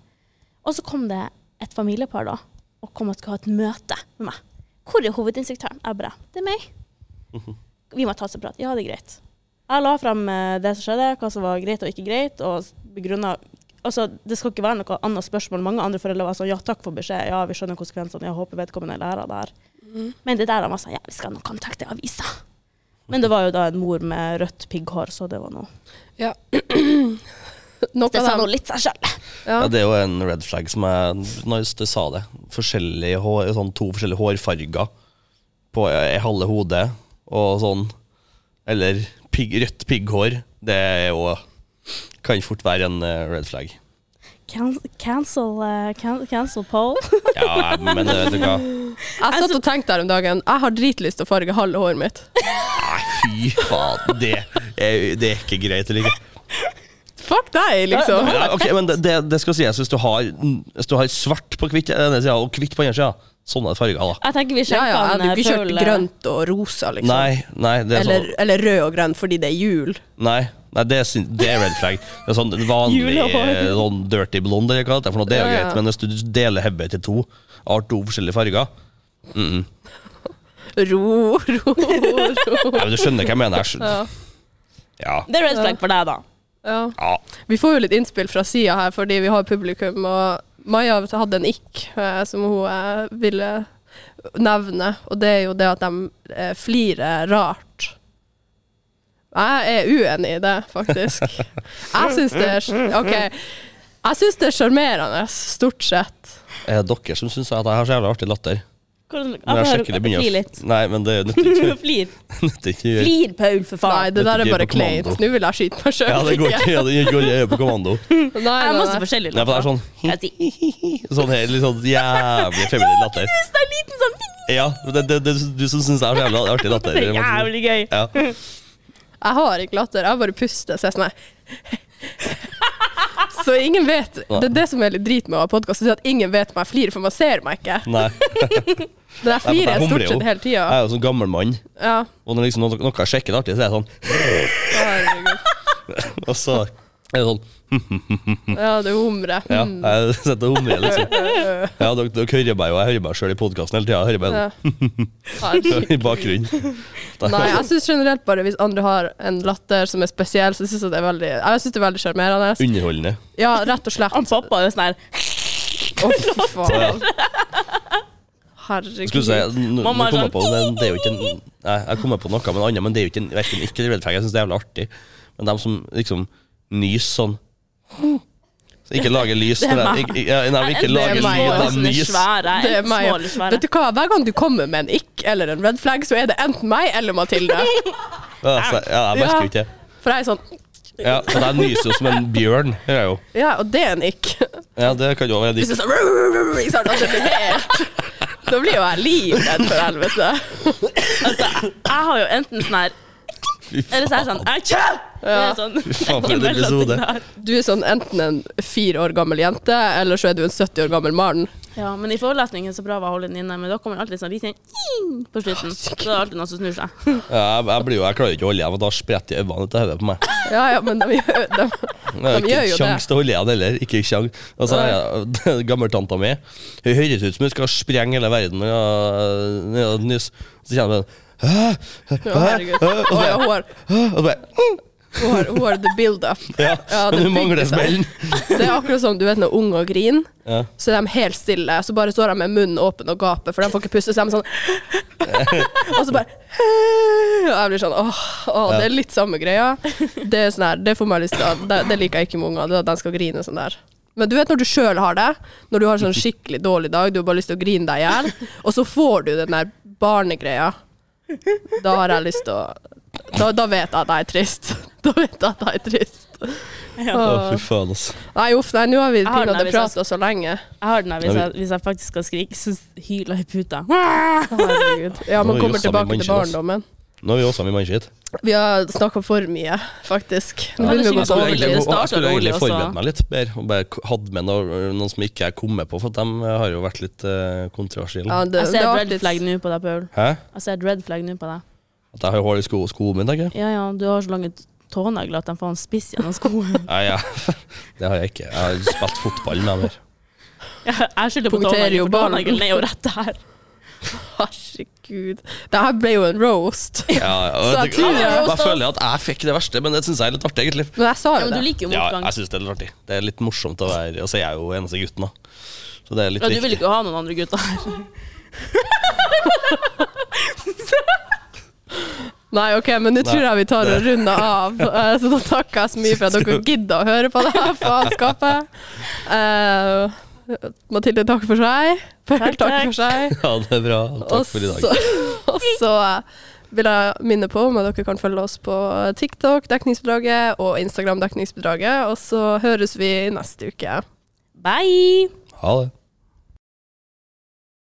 [SPEAKER 2] Og så kom det et familiepar da, og kom og skulle ha et møte med meg. Hvor er hovedinstruktøren? Jeg bare, det er meg. Vi må ta oss en prat. Ja, det er greit. Jeg la frem eh, det som skjedde, hva som var greit og ikke greit, og begrunna Altså, det skal ikke være noe annet spørsmål. Mange andre foreldre var sånn ja, takk for beskjed, ja, vi skjønner konsekvensene, jeg håper vedkommende lærer av det her. Men det der han var sånn, ja, vi skal nå kontakte avisa. Men det var jo da en mor med rødt pigghår, så det var noe
[SPEAKER 1] Ja. Noe
[SPEAKER 2] Det sa
[SPEAKER 1] av
[SPEAKER 2] nå
[SPEAKER 1] dem.
[SPEAKER 2] litt seg sjøl.
[SPEAKER 1] Ja.
[SPEAKER 3] Ja, det er jo en red flag som jeg Når du sa det Forskjellige hår, sånn To forskjellige hårfarger På eh, halve hodet Og sånn Eller pigg- rødt pigghår Det er jo Kan fort være en eh, red flag
[SPEAKER 2] Cancel, eh, can cancel poll.
[SPEAKER 3] Ja, men eh, vet du hva
[SPEAKER 1] Jeg satt og tenkte her om dagen Jeg har dritlyst til å farge halve håret mitt.
[SPEAKER 3] Nei, fy faen Det er, det er ikke greit eller ikke
[SPEAKER 1] Fuck deg, liksom.
[SPEAKER 3] ja, Ok, men det, det, det skal sies Hvis du har, hvis du har svart på eh, kvitt ene siden, Og kvitt på sånn andre siden Sånne farger da
[SPEAKER 2] Jeg tenker vi
[SPEAKER 1] Ja, ja,
[SPEAKER 2] sjekker
[SPEAKER 1] jeg
[SPEAKER 2] han
[SPEAKER 1] hadde
[SPEAKER 2] eh,
[SPEAKER 1] ikke kjørt
[SPEAKER 2] Paul, eh,
[SPEAKER 1] grønt og rosa, liksom.
[SPEAKER 3] sånn- Nei, nei det er sånn
[SPEAKER 1] eller, eller rød og grønn fordi det er jul.
[SPEAKER 3] Nei, nei det, er, syn- det er red flag. Det er sånn vanlig
[SPEAKER 2] Julehår.
[SPEAKER 3] eh, sånn dirty blond, eller hva det er, for noe, det er jo
[SPEAKER 1] Ja, ja.
[SPEAKER 3] greit. Men hvis du deler hodet til to, har to forskjellige farger
[SPEAKER 1] Ro, ro, ro.
[SPEAKER 3] Nei, men Du skjønner hva jeg mener? Jeg skjønner. Ja.
[SPEAKER 2] Det er red flag for deg, da.
[SPEAKER 1] Ja.
[SPEAKER 3] ja.
[SPEAKER 1] Vi får jo litt innspill fra sida her, fordi vi har publikum. Og Maja hadde en ikk eh, som hun eh, ville nevne, og det er jo det at de eh, flirer rart. Jeg er uenig i det, faktisk. Jeg syns det er OK. Jeg syns det er sjarmerende, stort sett.
[SPEAKER 3] Er det dere som syns at jeg har så jævlig artig latter?
[SPEAKER 2] Hvordan,
[SPEAKER 3] Når jeg sjekker det, begynner
[SPEAKER 2] Flir
[SPEAKER 3] jeg
[SPEAKER 2] litt.
[SPEAKER 3] å- Nei, men det nytter ikke.
[SPEAKER 2] Flir.
[SPEAKER 3] nytter ikke.
[SPEAKER 2] Flir, Paul, for
[SPEAKER 1] Nei,
[SPEAKER 2] faen.
[SPEAKER 1] det der
[SPEAKER 3] Dette
[SPEAKER 1] er
[SPEAKER 3] gir
[SPEAKER 1] bare
[SPEAKER 3] på kommando.
[SPEAKER 1] kleint. Nå vil jeg skyte meg sjøl.
[SPEAKER 3] Ja, det går ikke. Ja, det går jeg gjør på kommando.
[SPEAKER 1] Nei, nei,
[SPEAKER 2] Jeg har masse
[SPEAKER 1] nei.
[SPEAKER 2] forskjellige
[SPEAKER 3] Nei, for det er sånn
[SPEAKER 2] Jeg sier
[SPEAKER 3] Sånn her, litt sånn jævlig feminin latter.
[SPEAKER 2] Knus deg, liten sånn
[SPEAKER 3] Ja, det, det, det, du som syns det er så jævlig artig latter.
[SPEAKER 2] Det er jævlig gøy.
[SPEAKER 3] Ja.
[SPEAKER 1] Jeg har ikke latter, jeg bare puster. Så jeg er sånn her. Så ingen vet Det er det som er litt drit med å ha podkast, at ingen vet om jeg flirer, for man ser meg ikke.
[SPEAKER 3] Nei.
[SPEAKER 1] Mm. Men jeg flirer
[SPEAKER 3] jeg
[SPEAKER 1] jeg
[SPEAKER 3] humler
[SPEAKER 1] stort
[SPEAKER 3] jo.
[SPEAKER 1] sett hele
[SPEAKER 3] Jeg
[SPEAKER 1] tida.
[SPEAKER 3] er jo sånn gammel mann,
[SPEAKER 1] Ja.
[SPEAKER 3] og når liksom noe, noe jeg sjekker er artig, så er jeg sånn
[SPEAKER 1] Herregud.
[SPEAKER 3] Og så er det sånn
[SPEAKER 1] Ja, det humrer.
[SPEAKER 3] Ja,
[SPEAKER 1] Mm.
[SPEAKER 3] jeg sitter og humrer, liksom.
[SPEAKER 1] Ja.
[SPEAKER 3] Ja, dere, dere hører meg jo, jeg hører meg sjøl i podkasten hele tida. Jeg hører meg
[SPEAKER 1] Herregud.
[SPEAKER 3] i bakgrunnen. Da-
[SPEAKER 1] Nei, jeg syns generelt bare hvis andre har en latter som er spesiell, så syns jeg det er veldig Jeg synes det er veldig sjarmerende.
[SPEAKER 3] Underholdende.
[SPEAKER 1] Ja, rett og slett.
[SPEAKER 2] Han pappa er jo sånn her
[SPEAKER 1] Å, fy faen.
[SPEAKER 3] Jeg Skulle si,
[SPEAKER 1] Herregud.
[SPEAKER 3] n- nå
[SPEAKER 2] Mamma er
[SPEAKER 3] kom jeg
[SPEAKER 2] sånn-
[SPEAKER 3] på det, det er jo ikke en, Nei, jeg kommer på noe med en annen, men det er jo ikke en verken ikke eller velferd. Jeg syns det er jævlig artig. Men de som liksom nyser sånn så Ikke lager lys
[SPEAKER 2] Det er
[SPEAKER 3] når de
[SPEAKER 2] meg.
[SPEAKER 3] ikke, ja, nei, men ikke
[SPEAKER 2] Enten
[SPEAKER 3] lager
[SPEAKER 1] meg,
[SPEAKER 3] lyd
[SPEAKER 1] eller
[SPEAKER 3] av nys.
[SPEAKER 2] svære,
[SPEAKER 1] Det er
[SPEAKER 2] enten
[SPEAKER 1] meg.
[SPEAKER 2] små eller svære.
[SPEAKER 1] Vet du hva, hver gang du kommer med en ikk eller en red flag, så er det enten meg eller Mathilde.
[SPEAKER 3] Ja, så, ja, jeg merker jo ikke det.
[SPEAKER 1] For jeg er sånn
[SPEAKER 3] Ja, for jeg nyser jo som en bjørn. Gjør jeg jo.
[SPEAKER 1] Ja, og det er en ikk.
[SPEAKER 3] Ja, det kan jo være
[SPEAKER 1] Hvis
[SPEAKER 3] ditt.
[SPEAKER 1] du sånn i starten, altså, det blir helt Da blir jo jeg livredd for helvete.
[SPEAKER 2] Altså, jeg har jo enten sånn her
[SPEAKER 3] Fy
[SPEAKER 2] Eller så er jeg sånn «Au, tja!» Det er sånn
[SPEAKER 3] faen, for en
[SPEAKER 2] det er bare sånn
[SPEAKER 3] episode.
[SPEAKER 2] der.
[SPEAKER 1] Du er sånn enten en fire år gammel jente, eller så er du en 70 år gammel mann.
[SPEAKER 2] Ja, men i forelesningen så prøver jeg å holde den inne, men da kommer det alltid sånn liten «ing» på slutten. Så det er alltid noen som snur seg.
[SPEAKER 3] Ja, jeg, jeg, blir jo, jeg klarer ikke å holde igjen, for da spretter øynene etter hodet på meg.
[SPEAKER 1] Ja, ja, men de gjør, de, de
[SPEAKER 3] Jeg har
[SPEAKER 1] gjør
[SPEAKER 3] ikke
[SPEAKER 1] jo det.
[SPEAKER 3] kjangs til å holde igjen heller. Ikke sjans. Altså, jeg- Gammeltanta mi Hun høres ut som hun skal sprenge hele verden når hun- når hun nyser. Så kjenner hun sånn, «Hæ?
[SPEAKER 1] Å, herregud. Å, ja, hun, har,
[SPEAKER 3] Hæ?» Og så bare «Mm».
[SPEAKER 1] hun, har, hun har the build up.
[SPEAKER 3] Ja,
[SPEAKER 1] Ja,
[SPEAKER 3] men
[SPEAKER 1] det
[SPEAKER 3] hun mangler
[SPEAKER 1] bygger seg.
[SPEAKER 3] smellen.
[SPEAKER 1] Det er akkurat som du vet når unger griner,
[SPEAKER 3] Ja.
[SPEAKER 1] så er de helt stille. Så bare står de med munnen åpen og gaper, for de får ikke puste. Så er de sånn Og så bare Og jeg blir sånn åh, åh, det er litt samme greia. Det er sånn her, det får meg lyst til å- det, det liker jeg ikke med unger, det er at de skal grine sånn der. Men du vet når du sjøl har det, når du har sånn skikkelig dårlig dag, du har bare lyst til å grine deg i hjel, og så får du den der barnegreia. Da har jeg lyst til å da, da vet jeg at jeg er trist. Da vet jeg at jeg er trist.
[SPEAKER 3] Å,
[SPEAKER 1] Åh.
[SPEAKER 3] fy faen, altså.
[SPEAKER 1] Nei, uff, nei, nå har vi
[SPEAKER 2] har den
[SPEAKER 1] pinadø
[SPEAKER 2] her, hvis jeg-
[SPEAKER 1] prata så lenge.
[SPEAKER 2] Jeg har den der hvis
[SPEAKER 3] Ja,
[SPEAKER 2] jeg, hvis jeg faktisk skal skrike, så hyler jeg i puta.
[SPEAKER 1] Herregud. Ja,
[SPEAKER 3] Nå
[SPEAKER 1] man
[SPEAKER 3] er
[SPEAKER 1] kommer
[SPEAKER 3] Jossa
[SPEAKER 1] tilbake
[SPEAKER 3] min
[SPEAKER 1] til
[SPEAKER 3] mannsjel, ass.
[SPEAKER 1] barndommen.
[SPEAKER 3] Nå er vi også med mannskitt.
[SPEAKER 1] Vi har snakka for mye, faktisk. Nå
[SPEAKER 2] Ja,
[SPEAKER 1] begynner vi å
[SPEAKER 2] det
[SPEAKER 1] gå
[SPEAKER 3] Jeg
[SPEAKER 2] synes
[SPEAKER 1] på
[SPEAKER 2] rolig,
[SPEAKER 3] skulle egentlig,
[SPEAKER 2] det
[SPEAKER 1] overtid.
[SPEAKER 2] starter
[SPEAKER 3] jeg skulle egentlig
[SPEAKER 2] rolig,
[SPEAKER 1] altså.
[SPEAKER 2] og så-
[SPEAKER 3] forberedt meg litt bedre og bare hadde med noen, noen som ikke jeg kom med på, for de har jo vært litt eh, kontroversielle.
[SPEAKER 1] Ja, det, det
[SPEAKER 2] Jeg ser
[SPEAKER 1] er
[SPEAKER 2] et red
[SPEAKER 1] artig.
[SPEAKER 2] flag nå på deg, Paul.
[SPEAKER 3] Hæ?
[SPEAKER 2] Jeg ser et red flag nå på deg.
[SPEAKER 3] At jeg har hull i sko, skoene mine, tenker jeg.
[SPEAKER 2] Ja, ja, du har så lange tånegler at de faen spisser gjennom skoen.
[SPEAKER 3] Nei, ja. det har jeg ikke. Jeg har spilt fotball med dem her.
[SPEAKER 2] Jeg, jeg skylder på
[SPEAKER 1] Punkterer
[SPEAKER 2] tånegler,
[SPEAKER 1] jo
[SPEAKER 2] for
[SPEAKER 1] ballen.
[SPEAKER 2] tåneglen er jo rett der.
[SPEAKER 1] Herregud. Det her ble jo en roast.
[SPEAKER 3] Ja, ja.
[SPEAKER 1] Så jeg
[SPEAKER 3] Jeg,
[SPEAKER 1] tror
[SPEAKER 3] jeg,
[SPEAKER 1] jeg
[SPEAKER 2] også-
[SPEAKER 3] føler at jeg fikk det verste, men det syns jeg er litt artig, egentlig.
[SPEAKER 1] Men jeg sa
[SPEAKER 2] Ja,
[SPEAKER 1] jo
[SPEAKER 2] men du
[SPEAKER 1] det.
[SPEAKER 2] liker jo
[SPEAKER 3] Ja, altså,
[SPEAKER 2] motgang.
[SPEAKER 3] jeg syns det er litt artig. Det er litt morsomt å være Og så er jeg jo eneste gutten, da. Så det er litt
[SPEAKER 2] Ja, du vil
[SPEAKER 3] viktig.
[SPEAKER 2] ikke ha noen andre gutter her.
[SPEAKER 1] Nei, OK, men nå
[SPEAKER 3] Nei.
[SPEAKER 1] tror jeg vi tar og runder av. Eh, Så da takker jeg så mye for at dere gidda å høre på det her faenskapet. Eh, Mathilde takker for seg. Pøl
[SPEAKER 2] Takk,
[SPEAKER 1] takker
[SPEAKER 2] takk.
[SPEAKER 1] for seg.
[SPEAKER 3] Ja, det er bra. Takk for i dag.
[SPEAKER 1] Og så eh, vil jeg minne på om at dere kan følge oss på TikTok, Dekningsbedraget, og Instagram, Dekningsbedraget. Og så høres vi neste uke.
[SPEAKER 2] Bye!
[SPEAKER 3] Ha det.